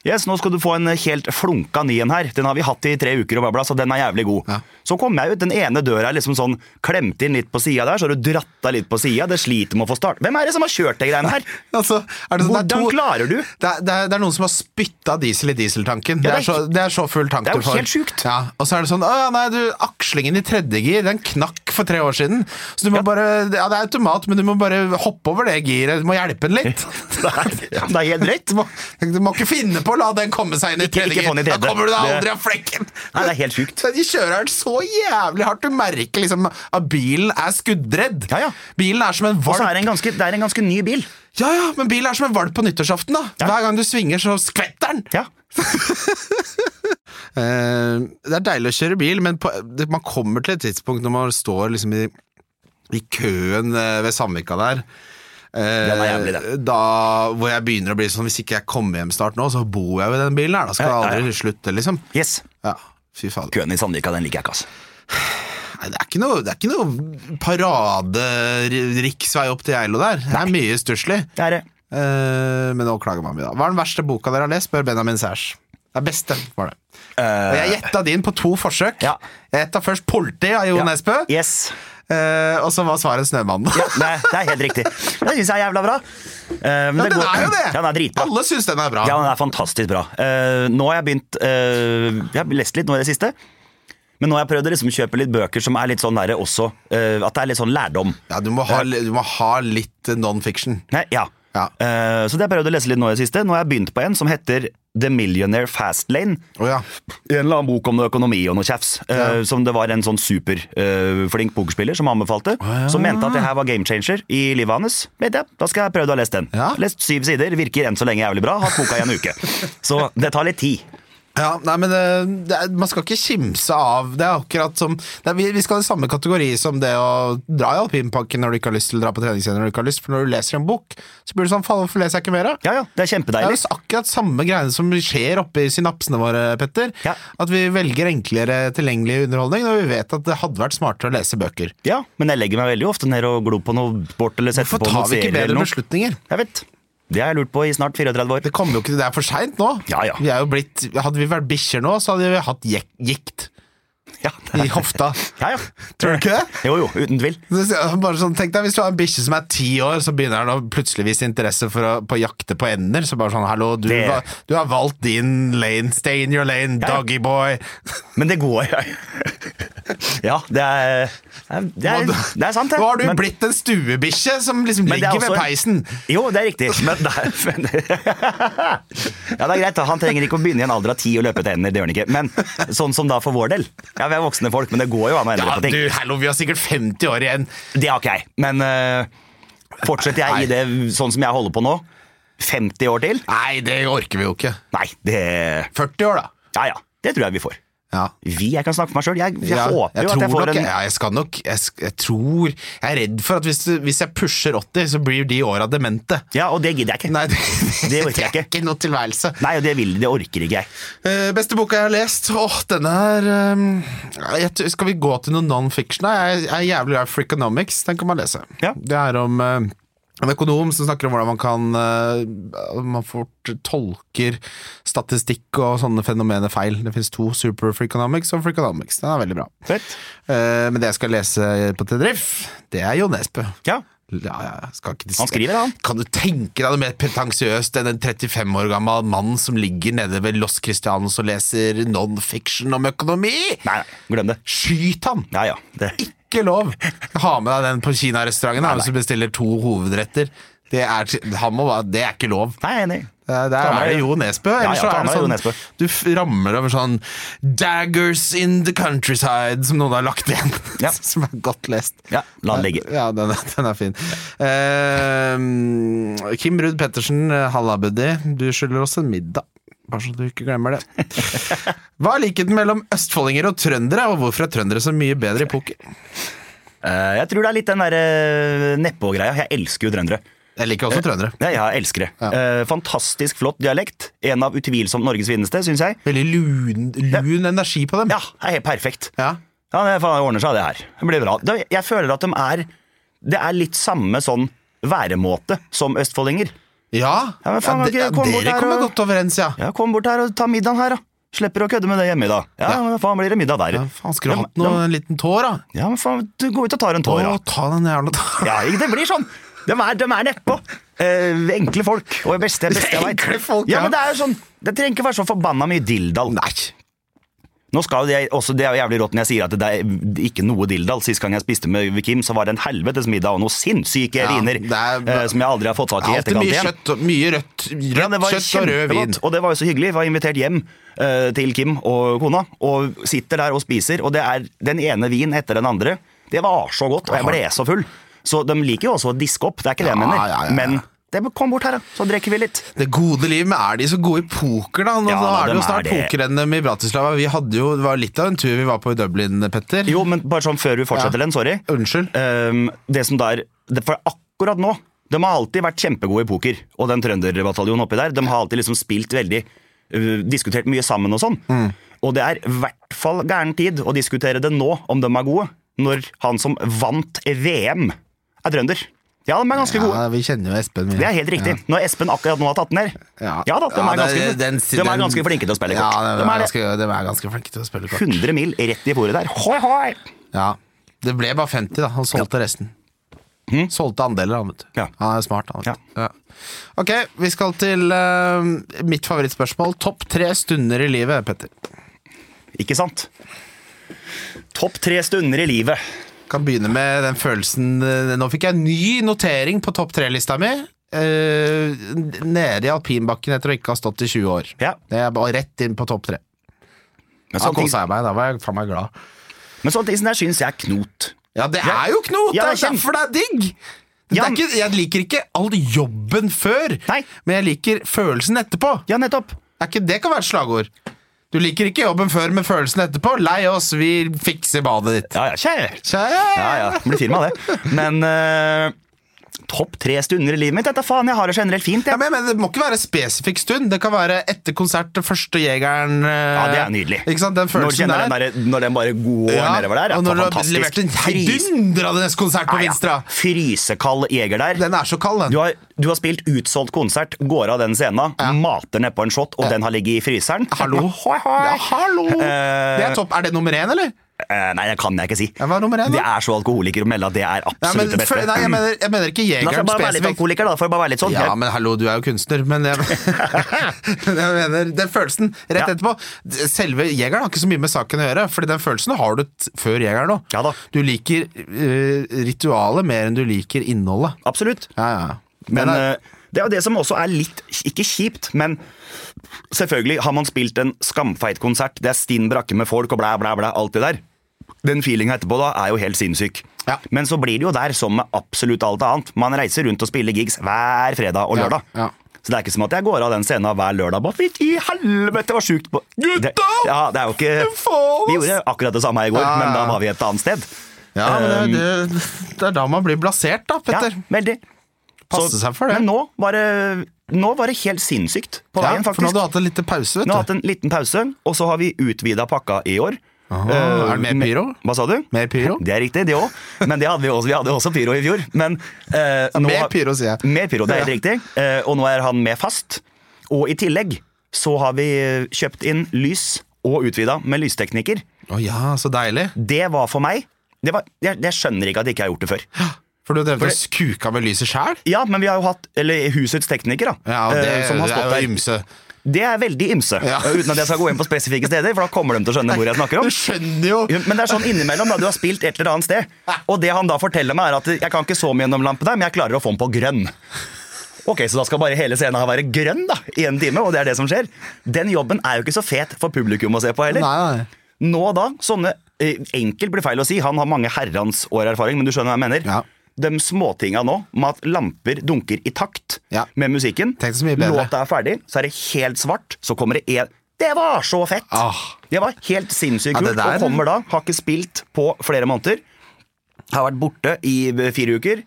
Speaker 4: Yes, nå skal du få en helt flunka ny en her. Den har vi hatt i tre uker, og bla bla, så den er jævlig god.
Speaker 3: Ja.
Speaker 4: Så kom jeg ut, den ene døra er liksom sånn klemt inn litt på sida der, så har du dratt deg litt på sida, det sliter med å få start. Hvem er det som har kjørt de greiene her?
Speaker 3: Altså, er det sånn, det er
Speaker 4: Hvordan
Speaker 3: to-
Speaker 4: klarer du?
Speaker 3: Det er, det, er, det er noen som har spytta diesel i dieseltanken.
Speaker 4: Ja,
Speaker 3: det,
Speaker 4: det er
Speaker 3: er så, det er så full tank
Speaker 4: det er
Speaker 3: du
Speaker 4: jo
Speaker 3: får.
Speaker 4: helt sjukt.
Speaker 3: Ja, og så er det sånn Å ja, nei, du, akslingen i tredje gir, den knakk for tre år siden. Så du må bare Ja, det er automat, men du må bare hoppe over det giret. Du må hjelpe den litt.
Speaker 4: Det er, det er helt drøyt.
Speaker 3: Du må, du må ikke finne på å la den komme seg inn i
Speaker 4: Ikke-
Speaker 3: tredje
Speaker 4: ikke få
Speaker 3: gir.
Speaker 4: den i
Speaker 3: Da
Speaker 4: tredje.
Speaker 3: kommer du deg
Speaker 4: Det-
Speaker 3: aldri av flekken.
Speaker 4: Nei, det er helt sjukt.
Speaker 3: Så De kjører den så jævlig hardt. Du merker liksom at bilen er skuddredd.
Speaker 4: Ja, ja.
Speaker 3: Bilen er som en
Speaker 4: Og så
Speaker 3: valp.
Speaker 4: er det en ganske, det er en ganske ny bil.
Speaker 3: Ja, ja, men bilen er som en valp på nyttårsaften, da.
Speaker 4: Ja.
Speaker 3: Hver gang du svinger, så skvetter den.
Speaker 4: Ja.
Speaker 3: Eh, det er deilig å kjøre bil, men på, det, man kommer til et tidspunkt når man står liksom i, i køen eh, ved Sandvika der eh,
Speaker 4: Den er jævlig, den.
Speaker 3: Da, hvor jeg begynner å bli sånn Hvis ikke jeg kommer hjem snart nå, så bor jeg ved den bilen her. Da skal
Speaker 4: Ja, ja,
Speaker 3: det
Speaker 4: ja.
Speaker 3: aldri slutte, liksom.
Speaker 4: Yes.
Speaker 3: Ja, fy fader.
Speaker 4: Køen i Sandvika, den liker jeg ikke, altså.
Speaker 3: Nei, det er ikke noe, det er ikke noe paraderiksvei opp til Geilo der. Det er mye stusslig.
Speaker 4: Det er det.
Speaker 3: Eh, men nå klager man mye, da. Hva er den verste boka dere har lest? spør Benjamin Sæsj. Det er beste, var det. Og jeg gjetta din på to forsøk.
Speaker 4: Eh. Ja.
Speaker 3: Jeg gjetta først 'Politi' av Jo
Speaker 4: Ja.
Speaker 3: Nesbø,
Speaker 4: Yes.
Speaker 3: eh, og så var svaret 'Snømannen'.
Speaker 4: Ja, det, er- det er helt riktig. Det syns jeg er jævla bra. Eh, men
Speaker 3: Men
Speaker 4: det
Speaker 3: den
Speaker 4: går-
Speaker 3: er jo det!
Speaker 4: Ja, den er dritbra.
Speaker 3: Alle syns den er bra.
Speaker 4: Ja, den er fantastisk bra. Eh, nå har jeg begynt eh, Jeg har lest litt nå i det siste. Men nå har jeg prøvd å liksom kjøpe litt bøker som er litt sånn derre også eh, At det er litt sånn lærdom.
Speaker 3: Ja, du, må ha, du må ha litt non-fiction.
Speaker 4: Nei, ja.
Speaker 3: Ja.
Speaker 4: Eh, så det har jeg prøvd å lese litt nå i det siste. Nå har jeg begynt på en som heter The Millionaire Fast Lane.
Speaker 3: Å ja.
Speaker 4: En eller annen bok om noe økonomi og noe tjafs. eh, Som det var en sånn superflink pokerspiller som anbefalte. Som mente at det her var game changer i livet hans. Vet jeg, Da skal jeg prøve å ha lest den.
Speaker 3: Ja.
Speaker 4: Lest syv sider, virker enn så lenge jævlig bra. Hatt boka i en uke. Så det tar litt tid.
Speaker 3: ja nei, men eh, det er, man skal ikke kimse av Det er akkurat som det er, vi, vi skal ha samme kategori som det å dra i alpinpakken når du ikke har lyst, eller dra på treningssenter når du ikke har lyst, for når du leser en bok, så blir du sånn Faen, hvorfor leser jeg ikke mer, da?
Speaker 4: Ja, ja, det er
Speaker 3: Det er
Speaker 4: kjempedeilig.
Speaker 3: jo akkurat samme greiene som skjer oppe i synapsene våre, Petter.
Speaker 4: Ja.
Speaker 3: At vi velger enklere tilgjengelig underholdning når vi vet at det hadde vært smartere å lese bøker.
Speaker 4: Ja, men jeg legger meg veldig ofte ned og glor på noe sport eller setter
Speaker 3: Hvorfor
Speaker 4: på noe
Speaker 3: tar vi
Speaker 4: serie
Speaker 3: ikke
Speaker 4: eller
Speaker 3: bedre
Speaker 4: noe.
Speaker 3: beslutninger?
Speaker 4: Jeg vet. Det har jeg lurt på i snart 34 år.
Speaker 3: Det kommer jo ikke til det er for seint nå.
Speaker 4: Ja, ja.
Speaker 3: Vi er jo blitt, hadde vi vært bikkjer nå, så hadde vi hatt jek- gikt
Speaker 4: Ja,
Speaker 3: i hofta.
Speaker 4: ja, ja.
Speaker 3: Tror du ikke det?
Speaker 4: Jo, jo, uten tvil.
Speaker 3: Så Bare sånn, tenk deg Hvis du har en bikkje som er ti år, så begynner han å plutselig vise interesse for å på å jakte på ender. Så bare sånn, hallo, du,
Speaker 4: Det-
Speaker 3: va- du har valgt din lane, stay in your lane,
Speaker 4: Ja, ja.
Speaker 3: doggy boy.
Speaker 4: Men det går jo. Ja, det er, det er, det er sant, det.
Speaker 3: Nå har du
Speaker 4: Men-
Speaker 3: blitt en stuebikkje som liksom
Speaker 4: Men det er
Speaker 3: ligger ved
Speaker 4: også-
Speaker 3: peisen.
Speaker 4: Jo, det er riktig. Men det er, men, ja, det er greit. da. Han trenger ikke å begynne i en alder av ti og løpe til ender. Det gjør han ikke. Men sånn som da for vår del. Ja, Vi er voksne folk, men det går jo an å endre
Speaker 3: Ja,
Speaker 4: på ting.
Speaker 3: du, hallo, vi har sikkert 50 år igjen.
Speaker 4: Det har ikke jeg. Men eh, fortsetter jeg i det sånn som jeg holder på nå, 50 år til?
Speaker 3: Nei, det orker vi jo ikke.
Speaker 4: Nei, det
Speaker 3: 40 år, da.
Speaker 4: Ja ja. Det tror jeg vi får.
Speaker 3: Ja.
Speaker 4: Vi, jeg kan snakke for meg sjøl. Jeg, jeg
Speaker 3: Ja,
Speaker 4: håper jo
Speaker 3: tror
Speaker 4: at jeg får
Speaker 3: nok,
Speaker 4: en
Speaker 3: ja, jeg skal nok jeg, sk- jeg tror Jeg er redd for at hvis, du- hvis jeg pusher 80, så blir de åra demente.
Speaker 4: Ja, og det gidder jeg ikke. Nei,
Speaker 3: Nei, det,
Speaker 4: Det orker jeg
Speaker 3: er
Speaker 4: ikke.
Speaker 3: ikke noe tilværelse.
Speaker 4: og det vil det orker ikke jeg.
Speaker 3: Eh, beste boka jeg har lest? Åh, denne her eh, jeg, tror- Skal vi gå til noe non-fiction? da? Jeg, jeg er jævlig glad i Freakonomics. Den kan man lese.
Speaker 4: Ja.
Speaker 3: Det er om eh, en økonom som snakker om hvordan man kan eh, Man fort tolker statistikk og sånne fenomener feil. Det fins to, Super Freakonomics og Freakonomics. Den er veldig bra.
Speaker 4: Fett.
Speaker 3: Eh, men det jeg skal lese på Tenerife, det er Jo Nesbø.
Speaker 4: Ja.
Speaker 3: Ja, ja, jeg skal ikke
Speaker 4: Han skriver, han.
Speaker 3: Kan du tenke deg noe mer pretensiøst enn en 35 år gammel mann som ligger nede ved Los Cristianos og leser non-fiction om økonomi?
Speaker 4: Nei, nei, glem det.
Speaker 3: Skyt han!
Speaker 4: Ja, ja. Det.
Speaker 3: Ikke lov! Ha med deg den på kinarestauranten han som bestiller to hovedretter. Det er, han må, bare- det er ikke lov.
Speaker 4: Nei, jeg er enig.
Speaker 3: Det er, det
Speaker 4: Ta med
Speaker 3: er
Speaker 4: deg-
Speaker 3: Jo Nesbø.
Speaker 4: Ja,
Speaker 3: Eller
Speaker 4: ja,
Speaker 3: så
Speaker 4: ta
Speaker 3: er det
Speaker 4: med Jo
Speaker 3: sånn
Speaker 4: Nesbø.
Speaker 3: Du f- ramler over sånn Daggers in the countryside, som noen har lagt igjen.
Speaker 4: Ja.
Speaker 3: som er godt lest.
Speaker 4: Ja, la den ligge.
Speaker 3: Ja, den, er- den er fin. Eh, Kim Ruud Pettersen, eh, halla buddy. Du skylder oss en middag. Bare så du ikke glemmer det. Hva er likheten mellom østfoldinger og trøndere, og hvorfor er trøndere så mye bedre i poker?
Speaker 4: Eh, jeg tror det er litt den derre nedpå-greia. Jeg elsker jo trøndere.
Speaker 3: Jeg liker også trøndere.
Speaker 4: Ja, jeg elsker det.
Speaker 3: Ja.
Speaker 4: Eh, fantastisk flott dialekt. En av utvilsomt Norges fineste, syns jeg.
Speaker 3: Veldig lun, lun energi på dem.
Speaker 4: Ja, det er helt perfekt.
Speaker 3: Ja.
Speaker 4: Ja, det faen, ordner seg, det her. Det blir bra. Da- Jeg føler at de er Det er litt samme sånn væremåte som østfoldinger.
Speaker 3: Ja,
Speaker 4: Ja, men faen,
Speaker 3: Ja,
Speaker 4: kan
Speaker 3: de-
Speaker 4: ikke komme bort
Speaker 3: dere
Speaker 4: her
Speaker 3: kommer
Speaker 4: og-
Speaker 3: godt overens, ja.
Speaker 4: Ja, kom bort her og ta middagen her, da. Slipper å kødde med det hjemme i dag. Ja,
Speaker 3: Ja.
Speaker 4: men faen blir det middag der.
Speaker 3: ja faen, skulle
Speaker 4: De-
Speaker 3: du hatt noe,
Speaker 4: de-
Speaker 3: en liten tår, da?
Speaker 4: Ja, men faen, du går ut og tar en tår, da.
Speaker 3: Å, ta den jævla tåra.
Speaker 4: Ja, det blir sånn. De er, de er nedpå. Eh, enkle folk. Og det beste, beste jeg vet.
Speaker 3: Enkle folk,
Speaker 4: ja.
Speaker 3: ja.
Speaker 4: men det er jo sånn. Det trenger ikke være så forbanna mye dilldall. Nei. Nå skal jo det, også, det er jo jævlig rått når jeg sier at det er ikke noe dilldall. Sist gang jeg spiste med Kim, så var det en helvetes middag og noen sinnssyke
Speaker 3: Ja,
Speaker 4: viner
Speaker 3: det er-
Speaker 4: eh, som jeg aldri har fått tak i i
Speaker 3: Alltid
Speaker 4: etterkant
Speaker 3: mye
Speaker 4: igjen.
Speaker 3: kjøtt og mye rødt, rødt
Speaker 4: Ja, det var
Speaker 3: kjøtt og rød vin.
Speaker 4: kjempegodt, og det var jo så hyggelig. Vi var invitert hjem eh, til Kim og kona, og sitter der og spiser, og det er den ene vin etter den andre. Det var så godt, og jeg ble så full. Så de liker jo også å diske opp, det er ikke det jeg
Speaker 3: Ja,
Speaker 4: mener.
Speaker 3: ja, ja, ja.
Speaker 4: Men det kom bort her, da, så drikker vi litt.
Speaker 3: Det gode liv, men er de så gode i poker, da? Nå
Speaker 4: Ja,
Speaker 3: nå
Speaker 4: da,
Speaker 3: er det jo
Speaker 4: dem er
Speaker 3: snart
Speaker 4: det.
Speaker 3: poker-NM i Bratislava. Vi hadde jo, Det var litt av en tur vi var på i Dublin, Petter.
Speaker 4: Jo, men bare sånn før vi fortsetter
Speaker 3: Ja.
Speaker 4: den, sorry.
Speaker 3: Unnskyld.
Speaker 4: Ehm, det som da er, det- for akkurat nå, de har alltid vært kjempegode i poker, og den trønderbataljonen oppi der, de har alltid liksom spilt veldig, øh, diskutert mye sammen og sånn.
Speaker 3: Mm.
Speaker 4: Og det er i hvert fall gæren tid å diskutere det nå, om de er gode, når han som vant VM er trønder. Ja, de er ganske gode.
Speaker 3: Ja, vi kjenner jo Espen. vi.
Speaker 4: Det er helt riktig. Når Espen akkurat nå har tatt den her.
Speaker 3: Ja.
Speaker 4: da, de
Speaker 3: Ja,
Speaker 4: er,
Speaker 3: det-
Speaker 4: ganske,
Speaker 3: den-
Speaker 4: de er
Speaker 3: den-
Speaker 4: ganske flinke til å spille kort.
Speaker 3: Ja, de, er
Speaker 4: de er det.
Speaker 3: ganske, de er ganske flinke til å spille kort.
Speaker 4: 100 mil rett i fôret der. Hoi, hoi!
Speaker 3: Ja. Det ble bare 50, da. Han solgte resten. Solgte andeler, han, vet du.
Speaker 4: Hm? Ja.
Speaker 3: Han er smart, han. Vet. du. Ja. Ok, vi skal til eh, mitt favorittspørsmål. Topp tre stunder i livet, Petter.
Speaker 4: Ikke sant? Topp tre stunder i livet.
Speaker 3: Kan begynne med den følelsen eh, Nå fikk jeg en ny notering på topp tre-lista mi. Eh, nede i alpinbakken etter å ikke ha stått i 20 år.
Speaker 4: Ja.
Speaker 3: Det er bare rett inn på topp tre.
Speaker 4: Men
Speaker 3: Da
Speaker 4: sånne ting,
Speaker 3: kosa jeg meg. Da var jeg faen meg glad.
Speaker 4: men sånne ting som jeg syns jeg er knot.
Speaker 3: Ja, det
Speaker 4: Ja.
Speaker 3: er jo knot!
Speaker 4: Ja,
Speaker 3: det er
Speaker 4: kjem-
Speaker 3: derfor det er digg! Det
Speaker 4: Ja,
Speaker 3: er ikke, jeg liker ikke all jobben før,
Speaker 4: Nei.
Speaker 3: men jeg liker følelsen etterpå.
Speaker 4: Ja, nettopp.
Speaker 3: Er ikke, det kan være et slagord. Du liker ikke jobben før, men følelsen etterpå. Lei oss, vi fikser badet ditt.
Speaker 4: Ja, ja, kjære.
Speaker 3: Kjære!
Speaker 4: Ja, ja, det blir firma, det. Men eh, topp tre stunder i livet mitt? Dette faen, jeg har det generelt fint.
Speaker 3: Ja,
Speaker 4: Jeg.
Speaker 3: men jeg mener, Det må ikke være spesifikk stund. Det kan være etter konsert, det første jegeren eh,
Speaker 4: Ja, det er nydelig.
Speaker 3: Ikke sant, Den
Speaker 4: når, du
Speaker 3: følelsen
Speaker 4: kjenner
Speaker 3: der.
Speaker 4: den der, når den bare går
Speaker 3: Ja,
Speaker 4: nedover der, er
Speaker 3: og
Speaker 4: det
Speaker 3: når du har
Speaker 4: fantastisk.
Speaker 3: levert en
Speaker 4: Frys-
Speaker 3: heidundrende konsert på
Speaker 4: Ja, ja.
Speaker 3: Vinstra.
Speaker 4: Frysekald jeger der.
Speaker 3: Den er så kald, den.
Speaker 4: Du har, du har spilt utsolgt konsert, går av den scenen, mater nedpå en shot, og den har ligget i fryseren.
Speaker 3: Hallo.
Speaker 4: Hoi, hoi.
Speaker 3: Ja, hallo!
Speaker 4: Eh.
Speaker 3: Det er topp. Er det nummer én, eller?
Speaker 4: Eh, nei, det kan jeg ikke si.
Speaker 3: Ja, hva er nummer én,
Speaker 4: Det
Speaker 3: da?
Speaker 4: er så alkoholiker å melde at det er
Speaker 3: Nei,
Speaker 4: absolutt
Speaker 3: men,
Speaker 4: det beste. Mm.
Speaker 3: for, nei, jeg, mener, jeg mener ikke
Speaker 4: Da får jeg
Speaker 3: jegeren
Speaker 4: bare være litt
Speaker 3: spesifikt.
Speaker 4: alkoholiker, da. Da får jeg bare være litt sånn.
Speaker 3: Ja,
Speaker 4: Jeg-
Speaker 3: men hallo, du er jo kunstner. Men jeg, men jeg mener den følelsen rett
Speaker 4: Ja.
Speaker 3: etterpå. Selve jegeren har ikke så mye med saken å gjøre, Fordi den følelsen har du t før jegeren òg.
Speaker 4: Ja da.
Speaker 3: Du liker eh, ritualet mer enn du liker innholdet.
Speaker 4: Absolutt.
Speaker 3: Ja, ja.
Speaker 4: Men
Speaker 3: Den er-
Speaker 4: eh, det er jo det som også er litt Ikke kjipt, men selvfølgelig har man spilt en skamfeit konsert. Det er stinn brakke med folk og blæ, blæ, blæ. Alt det der. Den feelinga etterpå da er jo helt sinnssyk.
Speaker 3: Ja.
Speaker 4: Men så blir det jo der som med absolutt alt annet. Man reiser rundt og spiller gigs hver fredag og
Speaker 3: Ja,
Speaker 4: lørdag.
Speaker 3: ja.
Speaker 4: Så det er ikke som at jeg går av den scenen hver lørdag. Bare, Fy i helvete, var sjukt på
Speaker 3: Gutta!
Speaker 4: Det, ja, det er jo ikke
Speaker 3: Du får Thomas?
Speaker 4: Vi gjorde akkurat det samme i går,
Speaker 3: Ja, ja,
Speaker 4: men da
Speaker 3: ja.
Speaker 4: var vi et annet sted.
Speaker 3: Ja, men det, det, det er da man blir blasert, da, Petter.
Speaker 4: eh, Ja, veldig.
Speaker 3: Passe
Speaker 4: Så-
Speaker 3: seg for det.
Speaker 4: Men nå var det, nå var det helt sinnssykt på
Speaker 3: Ja,
Speaker 4: veien,
Speaker 3: for nå
Speaker 4: faktisk.
Speaker 3: har du hatt en liten pause,
Speaker 4: Nå har vi
Speaker 3: vet
Speaker 4: hatt
Speaker 3: du.
Speaker 4: en liten pause, og så har vi utvida pakka i år. Eh,
Speaker 3: Aha, er det mer
Speaker 4: med-
Speaker 3: pyro?
Speaker 4: Hva sa du?
Speaker 3: Mer pyro?
Speaker 4: Det er riktig, det òg. Men det hadde vi, også, vi hadde også pyro i fjor. Men, eh, nå
Speaker 3: mer
Speaker 4: har-
Speaker 3: pyro, sier jeg.
Speaker 4: Mer pyro, det er helt riktig. Eh, og nå er han med fast. Og i tillegg så har vi kjøpt inn lys og utvida med lysteknikker.
Speaker 3: Å ja, så deilig.
Speaker 4: Det var for meg det var, jeg, jeg skjønner ikke at jeg ikke har gjort det før.
Speaker 3: For du drev
Speaker 4: For
Speaker 3: og
Speaker 4: det-
Speaker 3: skuka med lyset sjæl?
Speaker 4: Ja, men vi har jo hatt Eller husets tekniker, da.
Speaker 3: Ja, og det,
Speaker 4: eh, som har
Speaker 3: det
Speaker 4: stått
Speaker 3: er
Speaker 4: der.
Speaker 3: jo ymse.
Speaker 4: Det er veldig ymse.
Speaker 3: Ja.
Speaker 4: Uten at jeg skal gå inn på spesifikke steder, for da kommer de til å skjønne hvor jeg snakker om.
Speaker 3: Du skjønner jo!
Speaker 4: Jo, Men det er sånn innimellom, da. Du har spilt et eller annet sted. Og det han da forteller meg, er at jeg kan ikke så mye gjennom lampen der, men jeg klarer å få den på grønn. Ok, Så da skal bare hele scenen her være grønn da, i en time, og det er det som skjer. Den jobben er jo ikke så fet for publikum å se på
Speaker 3: Nei,
Speaker 4: heller.
Speaker 3: nei.
Speaker 4: Nå da, sånne eh, Enkelt blir feil å si, han har mange herrens år erfaring, men du skjønner hva jeg mener.
Speaker 3: Ja.
Speaker 4: De småtinga nå, med at lamper dunker i takt
Speaker 3: Ja.
Speaker 4: med musikken.
Speaker 3: Tenk så mye bedre.
Speaker 4: Låta er ferdig, så er det helt svart, så kommer det en Det var så fett!
Speaker 3: Ah.
Speaker 4: Det var helt sinnssykt
Speaker 3: Ja,
Speaker 4: kult.
Speaker 3: det der-
Speaker 4: og kommer da, har ikke spilt på flere måneder. Har vært borte i fire uker.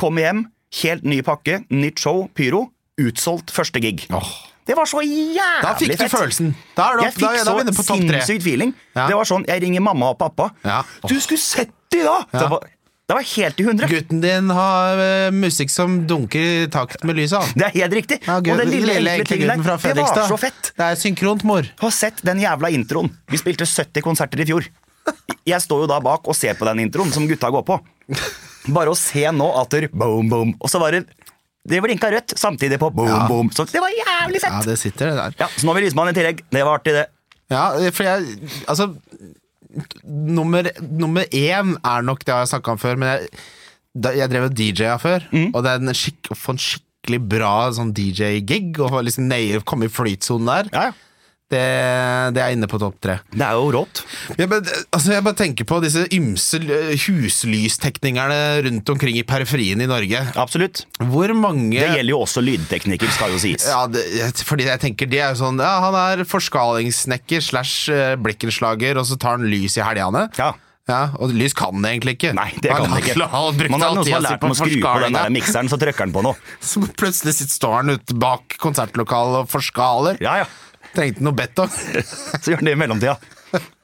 Speaker 4: Kommer hjem, helt ny pakke, nytt show, pyro. Utsolgt første gig.
Speaker 3: Åh.
Speaker 4: Det var så jævlig fett!
Speaker 3: Da fikk du følelsen. Da er du
Speaker 4: Jeg
Speaker 3: opp- da-
Speaker 4: fikk
Speaker 3: da er vi inne på
Speaker 4: så
Speaker 3: topp tre.
Speaker 4: sinnssykt feeling.
Speaker 3: Ja.
Speaker 4: Det var sånn, Jeg ringer mamma og pappa.
Speaker 3: Ja.
Speaker 4: Du skulle sett de da!
Speaker 3: Ja.
Speaker 4: Det, var, det var helt i hundre.
Speaker 3: Gutten din har eh, musikk som dunker i takt med lyset. han.
Speaker 4: Det er helt riktig.
Speaker 3: Ja,
Speaker 4: og
Speaker 3: gutten-
Speaker 4: den lille, enkle
Speaker 3: enkle
Speaker 4: tingen
Speaker 3: gutten fra
Speaker 4: der, det var
Speaker 3: Fredrikstad.
Speaker 4: så fett.
Speaker 3: Det er synkront, mor.
Speaker 4: Har sett den jævla introen. Vi spilte 70 konserter i fjor. Jeg står jo da bak og ser på den introen som gutta går på. Bare å se nå at det boom, boom. Og så var det Det blinka rødt samtidig på boom,
Speaker 3: Ja.
Speaker 4: boom. Så det var jævlig
Speaker 3: Ja,
Speaker 4: fett.
Speaker 3: det sitter, det der.
Speaker 4: Ja, så nå vil Lysmann i tillegg. Det var artig, det.
Speaker 3: Ja, for jeg Altså, nummer, nummer én er nok det jeg har snakka om før, men jeg, da, jeg drev og DJ-a før,
Speaker 4: Mm.
Speaker 3: og det er en skikk, å få en skikkelig bra sånn DJ-gig og få liksom nei, komme i flytsonen der,
Speaker 4: Ja, ja.
Speaker 3: det, det er inne på topp tre.
Speaker 4: Det er jo rått.
Speaker 3: Jeg bare, altså jeg bare tenker på disse ymse l- huslysteknikerne rundt omkring i periferien i Norge.
Speaker 4: Absolutt.
Speaker 3: Hvor mange
Speaker 4: Det gjelder jo også lydteknikker, skal jo sies.
Speaker 3: ja, det, jeg- fordi jeg tenker det er jo sånn Ja, han er forskalingssnekker slash eh, blikkenslager, og så tar han lys i helgene.
Speaker 4: Ja.
Speaker 3: Ja, og lys kan det egentlig ikke.
Speaker 4: Nei, det kan
Speaker 3: han
Speaker 4: det ikke.
Speaker 3: Han brukte
Speaker 4: Man er
Speaker 3: all
Speaker 4: noen som
Speaker 3: tida
Speaker 4: har
Speaker 3: si
Speaker 4: lært
Speaker 3: på
Speaker 4: om å skru på den der
Speaker 3: forskalinga.
Speaker 4: mikseren, så trykker den på noe.
Speaker 3: Så plutselig sitter- står han ute bak konsertlokalet og forskaler.
Speaker 4: Ja, ja.
Speaker 3: Trengte noe betong.
Speaker 4: Så gjør den det i mellomtida.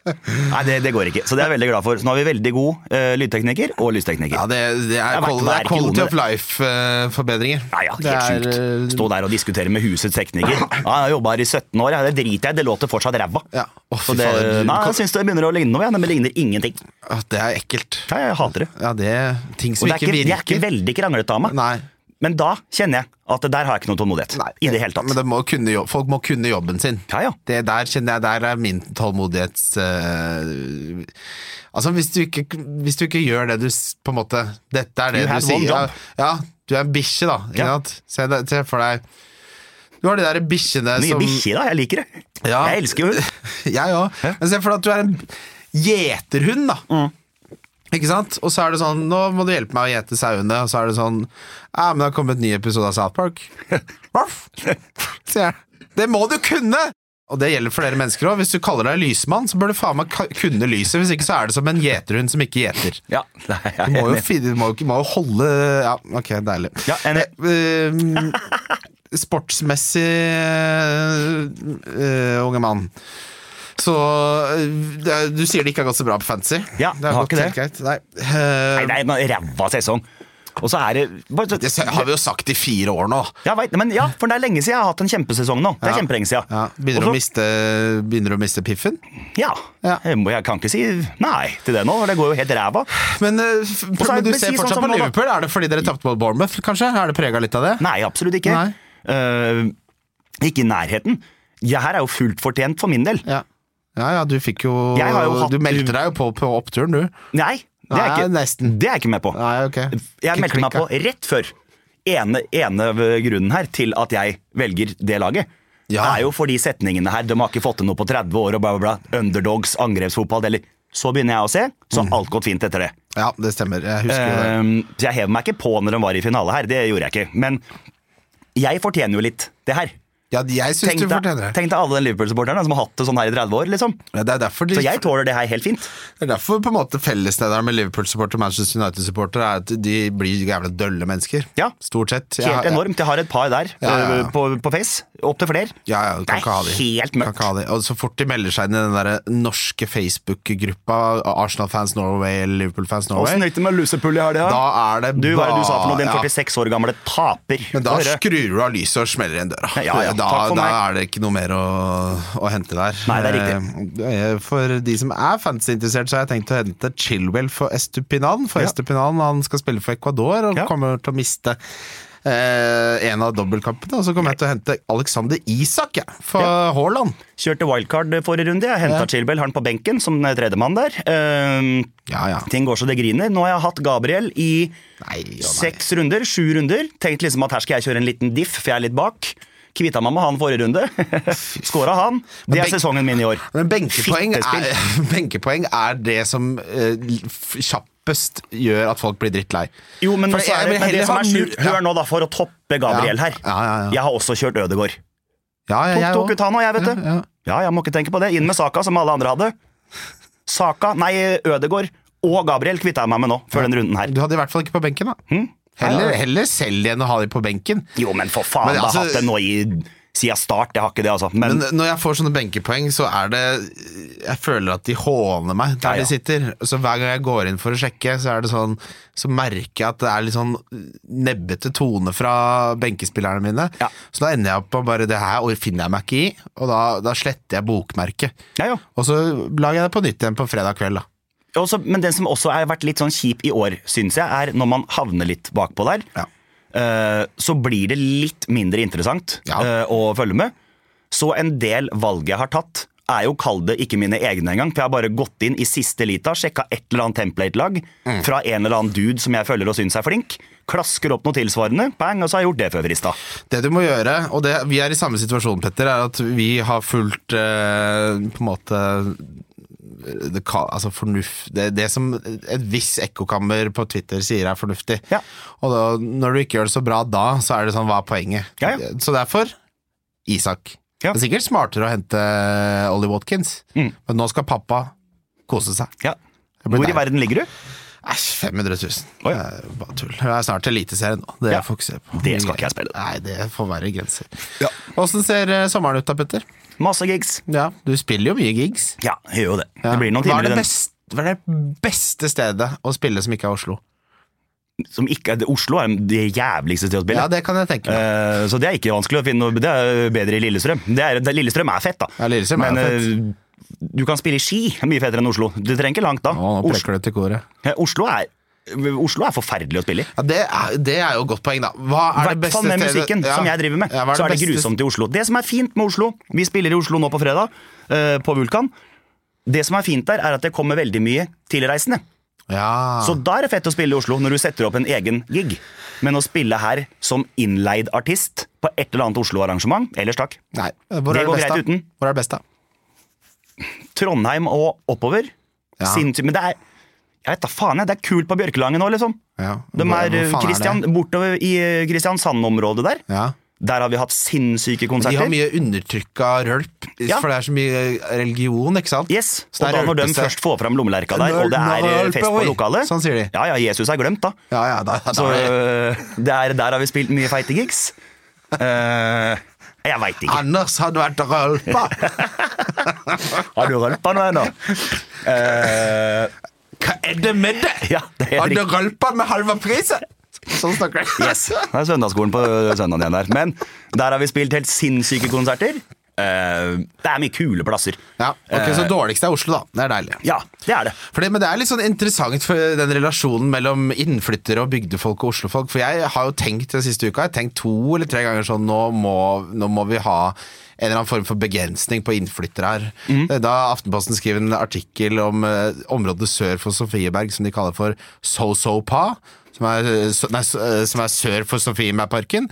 Speaker 4: Nei, det, det går ikke. Så det er jeg veldig glad for. Så nå har vi veldig god eh, lydtekniker og lystekniker.
Speaker 3: Ja, det, det, er,
Speaker 4: er verdt
Speaker 3: qual- det
Speaker 4: hver
Speaker 3: er quality
Speaker 4: krone,
Speaker 3: of eh, life-forbedringer.
Speaker 4: Nei, ja, helt
Speaker 3: eh,
Speaker 4: sjukt. Stå der og diskutere med husets tekniker. Ja, jeg har jobba her i 17 år, ja, det driter jeg i. Det låter fortsatt ræva.
Speaker 3: Ja. Å, fy
Speaker 4: Så det,
Speaker 3: fader, du
Speaker 4: nei, altså-
Speaker 3: kan-
Speaker 4: jeg syns det begynner å ligne noe, ja, men det ligner ingenting.
Speaker 3: Å, det er ekkelt.
Speaker 4: Ja, jeg hater det.
Speaker 3: Ja, det er ting
Speaker 4: Og
Speaker 3: som
Speaker 4: det er
Speaker 3: ikke
Speaker 4: ikke, jeg er ikke
Speaker 3: virker.
Speaker 4: veldig kranglete av meg.
Speaker 3: Nei.
Speaker 4: Men da kjenner jeg at der har jeg ikke noe tålmodighet.
Speaker 3: Nei.
Speaker 4: I det hele tatt.
Speaker 3: Men det må kunne, jobb- folk må kunne jobben sin.
Speaker 4: Ja, ja.
Speaker 3: Det der kjenner jeg, der er min tålmodighets... eh, altså, hvis du, ikke, hvis du ikke gjør det du s- på en måte Dette er det
Speaker 4: You
Speaker 3: du
Speaker 4: had
Speaker 3: sier.
Speaker 4: one
Speaker 3: Ja,
Speaker 4: job.
Speaker 3: ja, du er en bikkje, da. Ikke
Speaker 4: Ja.
Speaker 3: sant? Se, deg- se for deg Du har de der bikkjene
Speaker 4: Mye
Speaker 3: som
Speaker 4: bikkje, da. Jeg liker det.
Speaker 3: Ja.
Speaker 4: Jeg elsker jo hund.
Speaker 3: Jeg òg. Men se for deg at du er en gjeterhund, da. Ikke sant? Og så er det sånn Nå må du hjelpe meg å gjete sauene. Og så er det sånn Ja, men det har kommet en ny episode av South Park. Ruff, sier jeg. Det må du kunne! Og det gjelder for dere mennesker òg. Hvis du kaller deg lysmann, så bør du faen meg ka- kunne lyset. Hvis ikke så er det som en gjeterhund som ikke gjeter.
Speaker 4: Ja, nei, jeg er
Speaker 3: Du må jo,
Speaker 4: enig.
Speaker 3: finne, du må jo, ikke- må jo holde Ja, ok, deilig.
Speaker 4: Ja, enig.
Speaker 3: Ehm, sportsmessig eh, unge mann. Så eh, det er- du sier det ikke har gått så bra på fantasy?
Speaker 4: Ja,
Speaker 3: det
Speaker 4: har
Speaker 3: gått helt
Speaker 4: ikke
Speaker 3: greit. Nei. Eh,
Speaker 4: Nei, det er en ræva sesong. Og så er det bare, så,
Speaker 3: det s- har vi jo sagt i fire år nå.
Speaker 4: ja, vet, men ja, for det er lenge siden jeg har hatt en kjempesesong nå. Det er
Speaker 3: Ja.
Speaker 4: kjempelenge siden.
Speaker 3: Ja, begynner,
Speaker 4: Og
Speaker 3: å
Speaker 4: så-
Speaker 3: miste, begynner å miste piffen.
Speaker 4: Ja.
Speaker 3: Ja.
Speaker 4: Jeg, må, jeg kan ikke si nei til det nå, for det går jo helt ræva.
Speaker 3: Men, eh, f-
Speaker 4: så er-
Speaker 3: men du
Speaker 4: men
Speaker 3: ser
Speaker 4: si sånn
Speaker 3: fortsatt
Speaker 4: som
Speaker 3: på
Speaker 4: nå, da.
Speaker 3: Liverpool. Er det fordi dere tapte mot Bournemouth, kanskje? Er det prega litt av det?
Speaker 4: Nei, absolutt ikke.
Speaker 3: Nei.
Speaker 4: Eh, ikke i nærheten. Det her er jo fullt fortjent for min del.
Speaker 3: Ja. ja, ja, du fikk jo,
Speaker 4: Jeg har jo hatt-
Speaker 3: Du meldte deg jo på på oppturen, du.
Speaker 4: Nei, det er,
Speaker 3: Nei,
Speaker 4: ikke,
Speaker 3: nesten.
Speaker 4: Det er jeg ikke med på.
Speaker 3: Nei, ok.
Speaker 4: Jeg
Speaker 3: Ikke
Speaker 4: meldte meg
Speaker 3: klikka.
Speaker 4: på rett før. Ene, ene grunnen her til at jeg velger det laget,
Speaker 3: Ja.
Speaker 4: er jo fordi setningene her De har ikke fått til noe på 30 år, og bla, bla, bla. Underdogs, angrepsfotball, det eller Så begynner jeg å se, så har alt gått fint etter det.
Speaker 3: Ja, det stemmer. Jeg husker jo Mm. det.
Speaker 4: Ehm, så jeg hev meg ikke på når de var i finale her, det gjorde jeg ikke. Men jeg fortjener jo litt det her.
Speaker 3: Ja, jeg syns
Speaker 4: Tenk
Speaker 3: du
Speaker 4: deg-
Speaker 3: fortjener det.
Speaker 4: tenk deg alle den Liverpool-supporterne som har hatt det sånn her i 30 år. liksom.
Speaker 3: Ja, det er derfor, de,
Speaker 4: Så jeg tåler det her helt fint.
Speaker 3: det er derfor på en måte fellesnevneren med Liverpool-supporter og Manchester United-supporter er at de blir jævla dølle mennesker.
Speaker 4: Ja.
Speaker 3: Stort sett. Jeg har-
Speaker 4: Helt
Speaker 3: jeg-
Speaker 4: enormt. Jeg har et par der
Speaker 3: Ja, ja, ja.
Speaker 4: eh, på, på Face. Opptil flere.
Speaker 3: Ja, ja, du
Speaker 4: Det
Speaker 3: kan
Speaker 4: er
Speaker 3: ikke ha de.
Speaker 4: helt
Speaker 3: Du kan
Speaker 4: mørkt.
Speaker 3: ikke ha de. Og så fort de melder seg inn i den der norske Facebook-gruppa Arsenal-fans Norway eller Liverpool-fans Norway,
Speaker 4: gikk det med lusepull i helga?
Speaker 3: da er det
Speaker 4: Du, hva er det du sa for noe? Den
Speaker 3: ja.
Speaker 4: 46 år gamle taper.
Speaker 3: Men da
Speaker 4: Høre.
Speaker 3: skrur du av lyset og smeller igjen døra.
Speaker 4: Ja, ja,
Speaker 3: da,
Speaker 4: takk for
Speaker 3: da
Speaker 4: meg.
Speaker 3: er det ikke noe mer å, å hente der.
Speaker 4: Nei, det er
Speaker 3: Eh, For de som er fantasy-interessert, så har jeg tenkt å hente Chilwell for Estupinan. For
Speaker 4: Ja.
Speaker 3: Estupinan han skal spille for Ecuador og
Speaker 4: Ja.
Speaker 3: kommer til å miste eh, en av dobbeltkampene. Og så kommer jeg til å hente Alexander Isak jeg, for Haaland.
Speaker 4: Kjørte wildcard forrige runde. Jeg henta
Speaker 3: Ja.
Speaker 4: Chilwell, har han på benken som tredjemann der. Ehm,
Speaker 3: Ja, ja.
Speaker 4: ting går så det griner. Nå har jeg hatt Gabriel i
Speaker 3: Nei, å nei.
Speaker 4: seks runder, sju runder. Tenkt liksom at her skal jeg kjøre en liten diff, for jeg er litt bak. Kvitta meg med han forrige runde. Skåra han. Det er
Speaker 3: benk-
Speaker 4: sesongen min i år.
Speaker 3: Men benkepoeng er,
Speaker 4: Fittespill.
Speaker 3: benkepoeng er det som eh, f- kjappest gjør at folk blir drittlei.
Speaker 4: Jo, men,
Speaker 3: For
Speaker 4: også
Speaker 3: jeg
Speaker 4: er det,
Speaker 3: vil
Speaker 4: men det
Speaker 3: heller
Speaker 4: som
Speaker 3: ha
Speaker 4: er
Speaker 3: null-
Speaker 4: sjukt, hør
Speaker 3: Ja.
Speaker 4: nå da, for å toppe Gabriel
Speaker 3: Ja.
Speaker 4: her.
Speaker 3: Ja, ja, ja.
Speaker 4: Jeg har også kjørt Ødegård.
Speaker 3: Ja, ja,
Speaker 4: Tok,
Speaker 3: jeg
Speaker 4: tok
Speaker 3: også.
Speaker 4: ut han òg, jeg, vet du.
Speaker 3: Ja, ja.
Speaker 4: Ja, jeg må ikke tenke på det. Inn med Saka, som alle andre hadde. Saka, nei, Ødegård og Gabriel kvitta jeg meg med nå, før den runden her. Hm?
Speaker 3: Du hadde i hvert fall ikke på benken, da. Heller, heller selg enn å ha de på benken.
Speaker 4: Jo, men for faen,
Speaker 3: Men
Speaker 4: jeg har
Speaker 3: altså-
Speaker 4: hatt det nå i siden start. Jeg har ikke det, altså. Men,
Speaker 3: Men eh, når jeg får sånne benkepoeng, så er det Jeg føler at de håner meg der
Speaker 4: Ja, ja.
Speaker 3: de sitter. Så hver gang jeg går inn for å sjekke, så er det sånn Så merker jeg at det er litt sånn nebbete tone fra benkespillerne mine.
Speaker 4: Ja.
Speaker 3: Så da ender jeg opp med bare Det her og finner jeg meg ikke i, og da, da sletter jeg bokmerket.
Speaker 4: ja, ja.
Speaker 3: Og så lager jeg det på nytt igjen på fredag kveld, da.
Speaker 4: Også, men den som også har vært litt sånn kjip i år, syns jeg, er når man havner litt bakpå der,
Speaker 3: Ja.
Speaker 4: eh, så blir det litt mindre interessant
Speaker 3: Ja.
Speaker 4: eh, å følge med. Så en del valg jeg har tatt, er jo kall det ikke mine egne engang, for jeg har bare gått inn i siste lita, sjekka et eller annet template-lag
Speaker 3: Mm.
Speaker 4: fra en eller annen dude som jeg følger og syns er flink, klasker opp noe tilsvarende, bang, og så har jeg gjort det før i stad.
Speaker 3: Det du må gjøre, og det, vi er i samme situasjon, Petter, er at vi har fulgt eh, på en måte det, ka- altså fornuft, det, det som et visst ekkokammer på Twitter sier er fornuftig.
Speaker 4: Ja.
Speaker 3: Og da, når du ikke gjør det så bra da, så er det sånn, hva er poenget?
Speaker 4: Ja, ja.
Speaker 3: Så derfor, Isak.
Speaker 4: Ja. Mm.
Speaker 3: Det er sikkert smartere å hente eh, Ollie Watkins, men nå skal pappa kose seg.
Speaker 4: Ja.
Speaker 3: Det blir
Speaker 4: Hvor i
Speaker 3: deilig.
Speaker 4: verden ligger du?
Speaker 3: Æsj, 500 000. Det
Speaker 4: Oi.
Speaker 3: er bare tull. Det er snart Eliteserien nå. Det
Speaker 4: Ja.
Speaker 3: fokuserer jeg på.
Speaker 4: Det skal ikke jeg spille.
Speaker 3: Nei, det får være grenser. Åssen ser eh, sommeren ut da, Petter?
Speaker 4: Masse gigs.
Speaker 3: Ja, Du spiller jo mye gigs.
Speaker 4: Ja, jeg gjør jo det.
Speaker 3: Ja.
Speaker 4: Det blir noen
Speaker 3: hva,
Speaker 4: timer
Speaker 3: er
Speaker 4: i
Speaker 3: det
Speaker 4: den
Speaker 3: best- hva er det beste stedet å spille som ikke er Oslo?
Speaker 4: som ikke er Oslo er det jævligste til å spille.
Speaker 3: Ja, det kan jeg tenke meg.
Speaker 4: Eh, Så det er ikke vanskelig å finne noe Det er bedre i Lillestrøm. Det er, det, Lillestrøm er fett, da.
Speaker 3: Ja, Lillestrøm er
Speaker 4: Men
Speaker 3: fett.
Speaker 4: eh, du kan spille i Ski. Det er Mye fettere enn Oslo. Du trenger ikke langt da.
Speaker 3: Å, nå
Speaker 4: Eh, Oslo,
Speaker 3: preker du til koret.
Speaker 4: eh, Oslo, er, Oslo er forferdelig å spille i.
Speaker 3: Ja, det, er, det er jo et godt poeng, da. Hva
Speaker 4: I
Speaker 3: er det
Speaker 4: hvert
Speaker 3: beste
Speaker 4: fall med
Speaker 3: stedet-
Speaker 4: musikken
Speaker 3: Ja.
Speaker 4: som jeg driver med.
Speaker 3: Ja, hva
Speaker 4: så er det
Speaker 3: beste-
Speaker 4: grusomt i Oslo. Det som er fint med Oslo Vi spiller i Oslo nå på fredag, eh, på Vulkan. Det som er fint der, er at det kommer veldig mye tilreisende.
Speaker 3: Ja.
Speaker 4: Så da er det fett å spille i Oslo, når du setter opp en egen gig. Men å spille her som innleid artist på et eller annet Oslo-arrangement, ellers takk.
Speaker 3: Nei. Hvor er det
Speaker 4: Det går
Speaker 3: best,
Speaker 4: greit
Speaker 3: da?
Speaker 4: uten.
Speaker 3: Hvor er det best, da?
Speaker 4: Trondheim og oppover.
Speaker 3: Ja.
Speaker 4: Sinnssykt. Men det er jeg vet da faen, jeg, det er kult på Bjørkelangen nå, liksom.
Speaker 3: Ja.
Speaker 4: De
Speaker 3: Hvor-
Speaker 4: er, eh,
Speaker 3: hvor faen det?
Speaker 4: Christian, Bortover i eh, Kristiansand-området der.
Speaker 3: Ja.
Speaker 4: Der har vi hatt sinnssyke
Speaker 3: De
Speaker 4: konserter.
Speaker 3: har mye undertrykka rølp,
Speaker 4: Ja.
Speaker 3: for det er så mye eh, religion, ikke sant?
Speaker 4: Yes,
Speaker 3: Så det
Speaker 4: Og
Speaker 3: er
Speaker 4: da når de
Speaker 3: rølpeste.
Speaker 4: først får fram lommelerka der, og det
Speaker 3: Når-
Speaker 4: er eh,
Speaker 3: når-
Speaker 4: fest på lokalet
Speaker 3: Sånn sier de.
Speaker 4: Ja, ja, Jesus er glemt, da.
Speaker 3: Ja, ja, da, da,
Speaker 4: Så
Speaker 3: er det-
Speaker 4: eh, det er, der har vi spilt mye feite gigs. Eh, jeg veit ikke.
Speaker 3: Anders hadde vært rølpa!
Speaker 4: Har du rølpa noe ennå? Eh,
Speaker 3: Hva er det med deg?!
Speaker 4: ja, det er
Speaker 3: Hadde
Speaker 4: riktig.
Speaker 3: rølpa med halva prisen! Sånn snakker jeg.
Speaker 4: Yes. Det er søndagsskolen på søndagen igjen der. Men der har vi spilt helt sinnssyke konserter. Eh, det er mye kule plasser.
Speaker 3: Ja, Eh. ok, Så dårligst er Oslo, da. Det er deilig.
Speaker 4: Ja, det er det.
Speaker 3: For det, men det er litt sånn interessant for den relasjonen mellom innflyttere og bygdefolk og oslofolk. For jeg har jo tenkt den siste uka, jeg har tenkt to eller tre ganger sånn nå må, nå må vi ha en eller annen form for begrensning på innflyttere her.
Speaker 4: Mm.
Speaker 3: Da Aftenposten skrev en artikkel om eh, området sør for Sofieberg som de kaller for So-So-Pa. Som er, eh, så- nei, så- eh, som er sør for Sofiemærparken.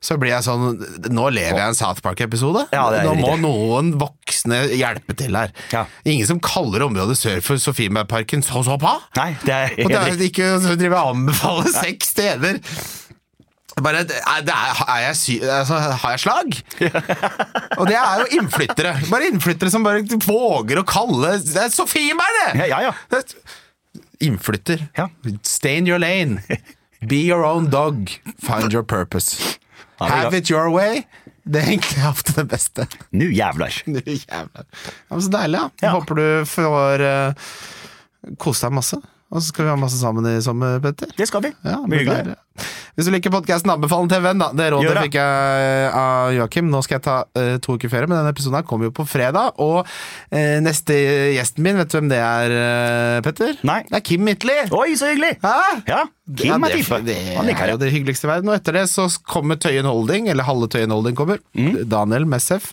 Speaker 3: Så blir jeg sånn Nå lever jeg i en South Park-episode.
Speaker 4: Ja, det er
Speaker 3: nå må
Speaker 4: riktig.
Speaker 3: noen voksne hjelpe til her.
Speaker 4: Ja.
Speaker 3: Ingen som kaller området sør for Sofiemarken så så pa!
Speaker 4: Nei, det er
Speaker 3: Og det
Speaker 4: helt
Speaker 3: er
Speaker 4: riktig.
Speaker 3: ikke å drive og anbefale seks steder! Bare, det er, det er, er jeg sy altså, har jeg slag? Og det er jo innflyttere. Bare innflyttere som bare våger å kalle Det er Sofiemær, det!
Speaker 4: Ja, ja, ja.
Speaker 3: Det er- Innflytter.
Speaker 4: Ja.
Speaker 3: Stay in your lane. Be your own dog. Find your purpose.
Speaker 4: det er
Speaker 3: Have
Speaker 4: bra.
Speaker 3: it your way. Det er egentlig ofte det beste.
Speaker 4: Nu jævlar.
Speaker 3: Du jævla. Ja, men så deilig, ja.
Speaker 4: Ja.
Speaker 3: Håper du får uh, kose deg masse. Og så skal vi ha masse sammen i sommer, Petter.
Speaker 4: Det skal vi.
Speaker 3: Ja, det
Speaker 4: Blir hyggelig.
Speaker 3: der. Hvis du liker podkasten, anbefal den til en venn. da Det rådet
Speaker 4: Gjør det.
Speaker 3: fikk jeg eh, av Joakim. Nå skal jeg ta eh, to uker ferie, men denne episoden her kommer jo på fredag. Og eh, neste gjesten min, vet du hvem det er, eh, Petter?
Speaker 4: Nei.
Speaker 3: Det er Kim Mittli!
Speaker 4: Oi, så hyggelig!
Speaker 3: Hæ?
Speaker 4: Ja, Kim
Speaker 3: Ja,
Speaker 4: er
Speaker 3: det,
Speaker 4: type.
Speaker 3: det
Speaker 4: Han
Speaker 3: er
Speaker 4: liker
Speaker 3: jo
Speaker 4: det.
Speaker 3: det hyggeligste i verden. Og etter det så kommer Tøyen Holding, eller halve Tøyen Holding kommer.
Speaker 4: Mm.
Speaker 3: Daniel Messef.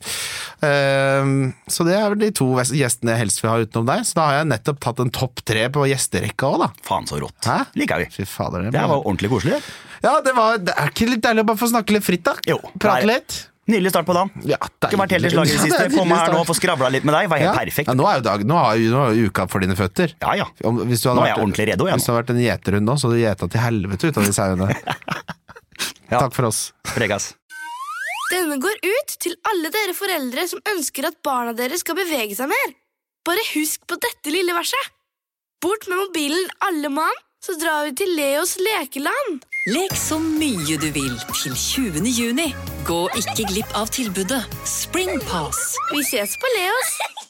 Speaker 3: Ehm, så det er vel de to gjestene jeg helst vil ha utenom deg. Så da har jeg nettopp tatt en topp tre på gjesterekka òg, da.
Speaker 4: Faen, så rått.
Speaker 3: Hæ?
Speaker 4: Liker vi.
Speaker 3: Fy fader,
Speaker 4: Det
Speaker 3: blir-
Speaker 4: her var jo ordentlig koselig.
Speaker 3: Ja, det, var, det er ikke litt deilig å bare få snakke litt fritt, da?
Speaker 4: Jo.
Speaker 3: Prate
Speaker 4: Nei.
Speaker 3: litt?
Speaker 4: Nydelig start på dagen.
Speaker 3: Ja,
Speaker 4: Ikke vært helt i slaget i det
Speaker 3: Ja,
Speaker 4: siste.
Speaker 3: er
Speaker 4: Komme her
Speaker 3: nydelig
Speaker 4: nå og
Speaker 3: start.
Speaker 4: få skravla litt med deg. Var helt
Speaker 3: ja.
Speaker 4: perfekt.
Speaker 3: Ja, nå er jo dag, nå er jo, nå er jo uka for dine føtter.
Speaker 4: Ja, ja.
Speaker 3: Om, hvis du hadde
Speaker 4: Nå er jeg
Speaker 3: vært-
Speaker 4: ordentlig redo, jeg
Speaker 3: Hvis du hadde vært en gjeterhund nå, så hadde du gjeta til helvete ut av de sauene.
Speaker 4: Ja.
Speaker 3: Takk for oss.
Speaker 4: Pregas.
Speaker 2: Denne går ut til alle dere foreldre som ønsker at barna deres skal bevege seg mer. Bare husk på dette lille verset. Bort med mobilen alle mann, så drar vi til Leos lekeland.
Speaker 5: Lek så mye du vil til 20. juni. Gå ikke glipp av tilbudet Springpass.
Speaker 2: Vi ses på Leos.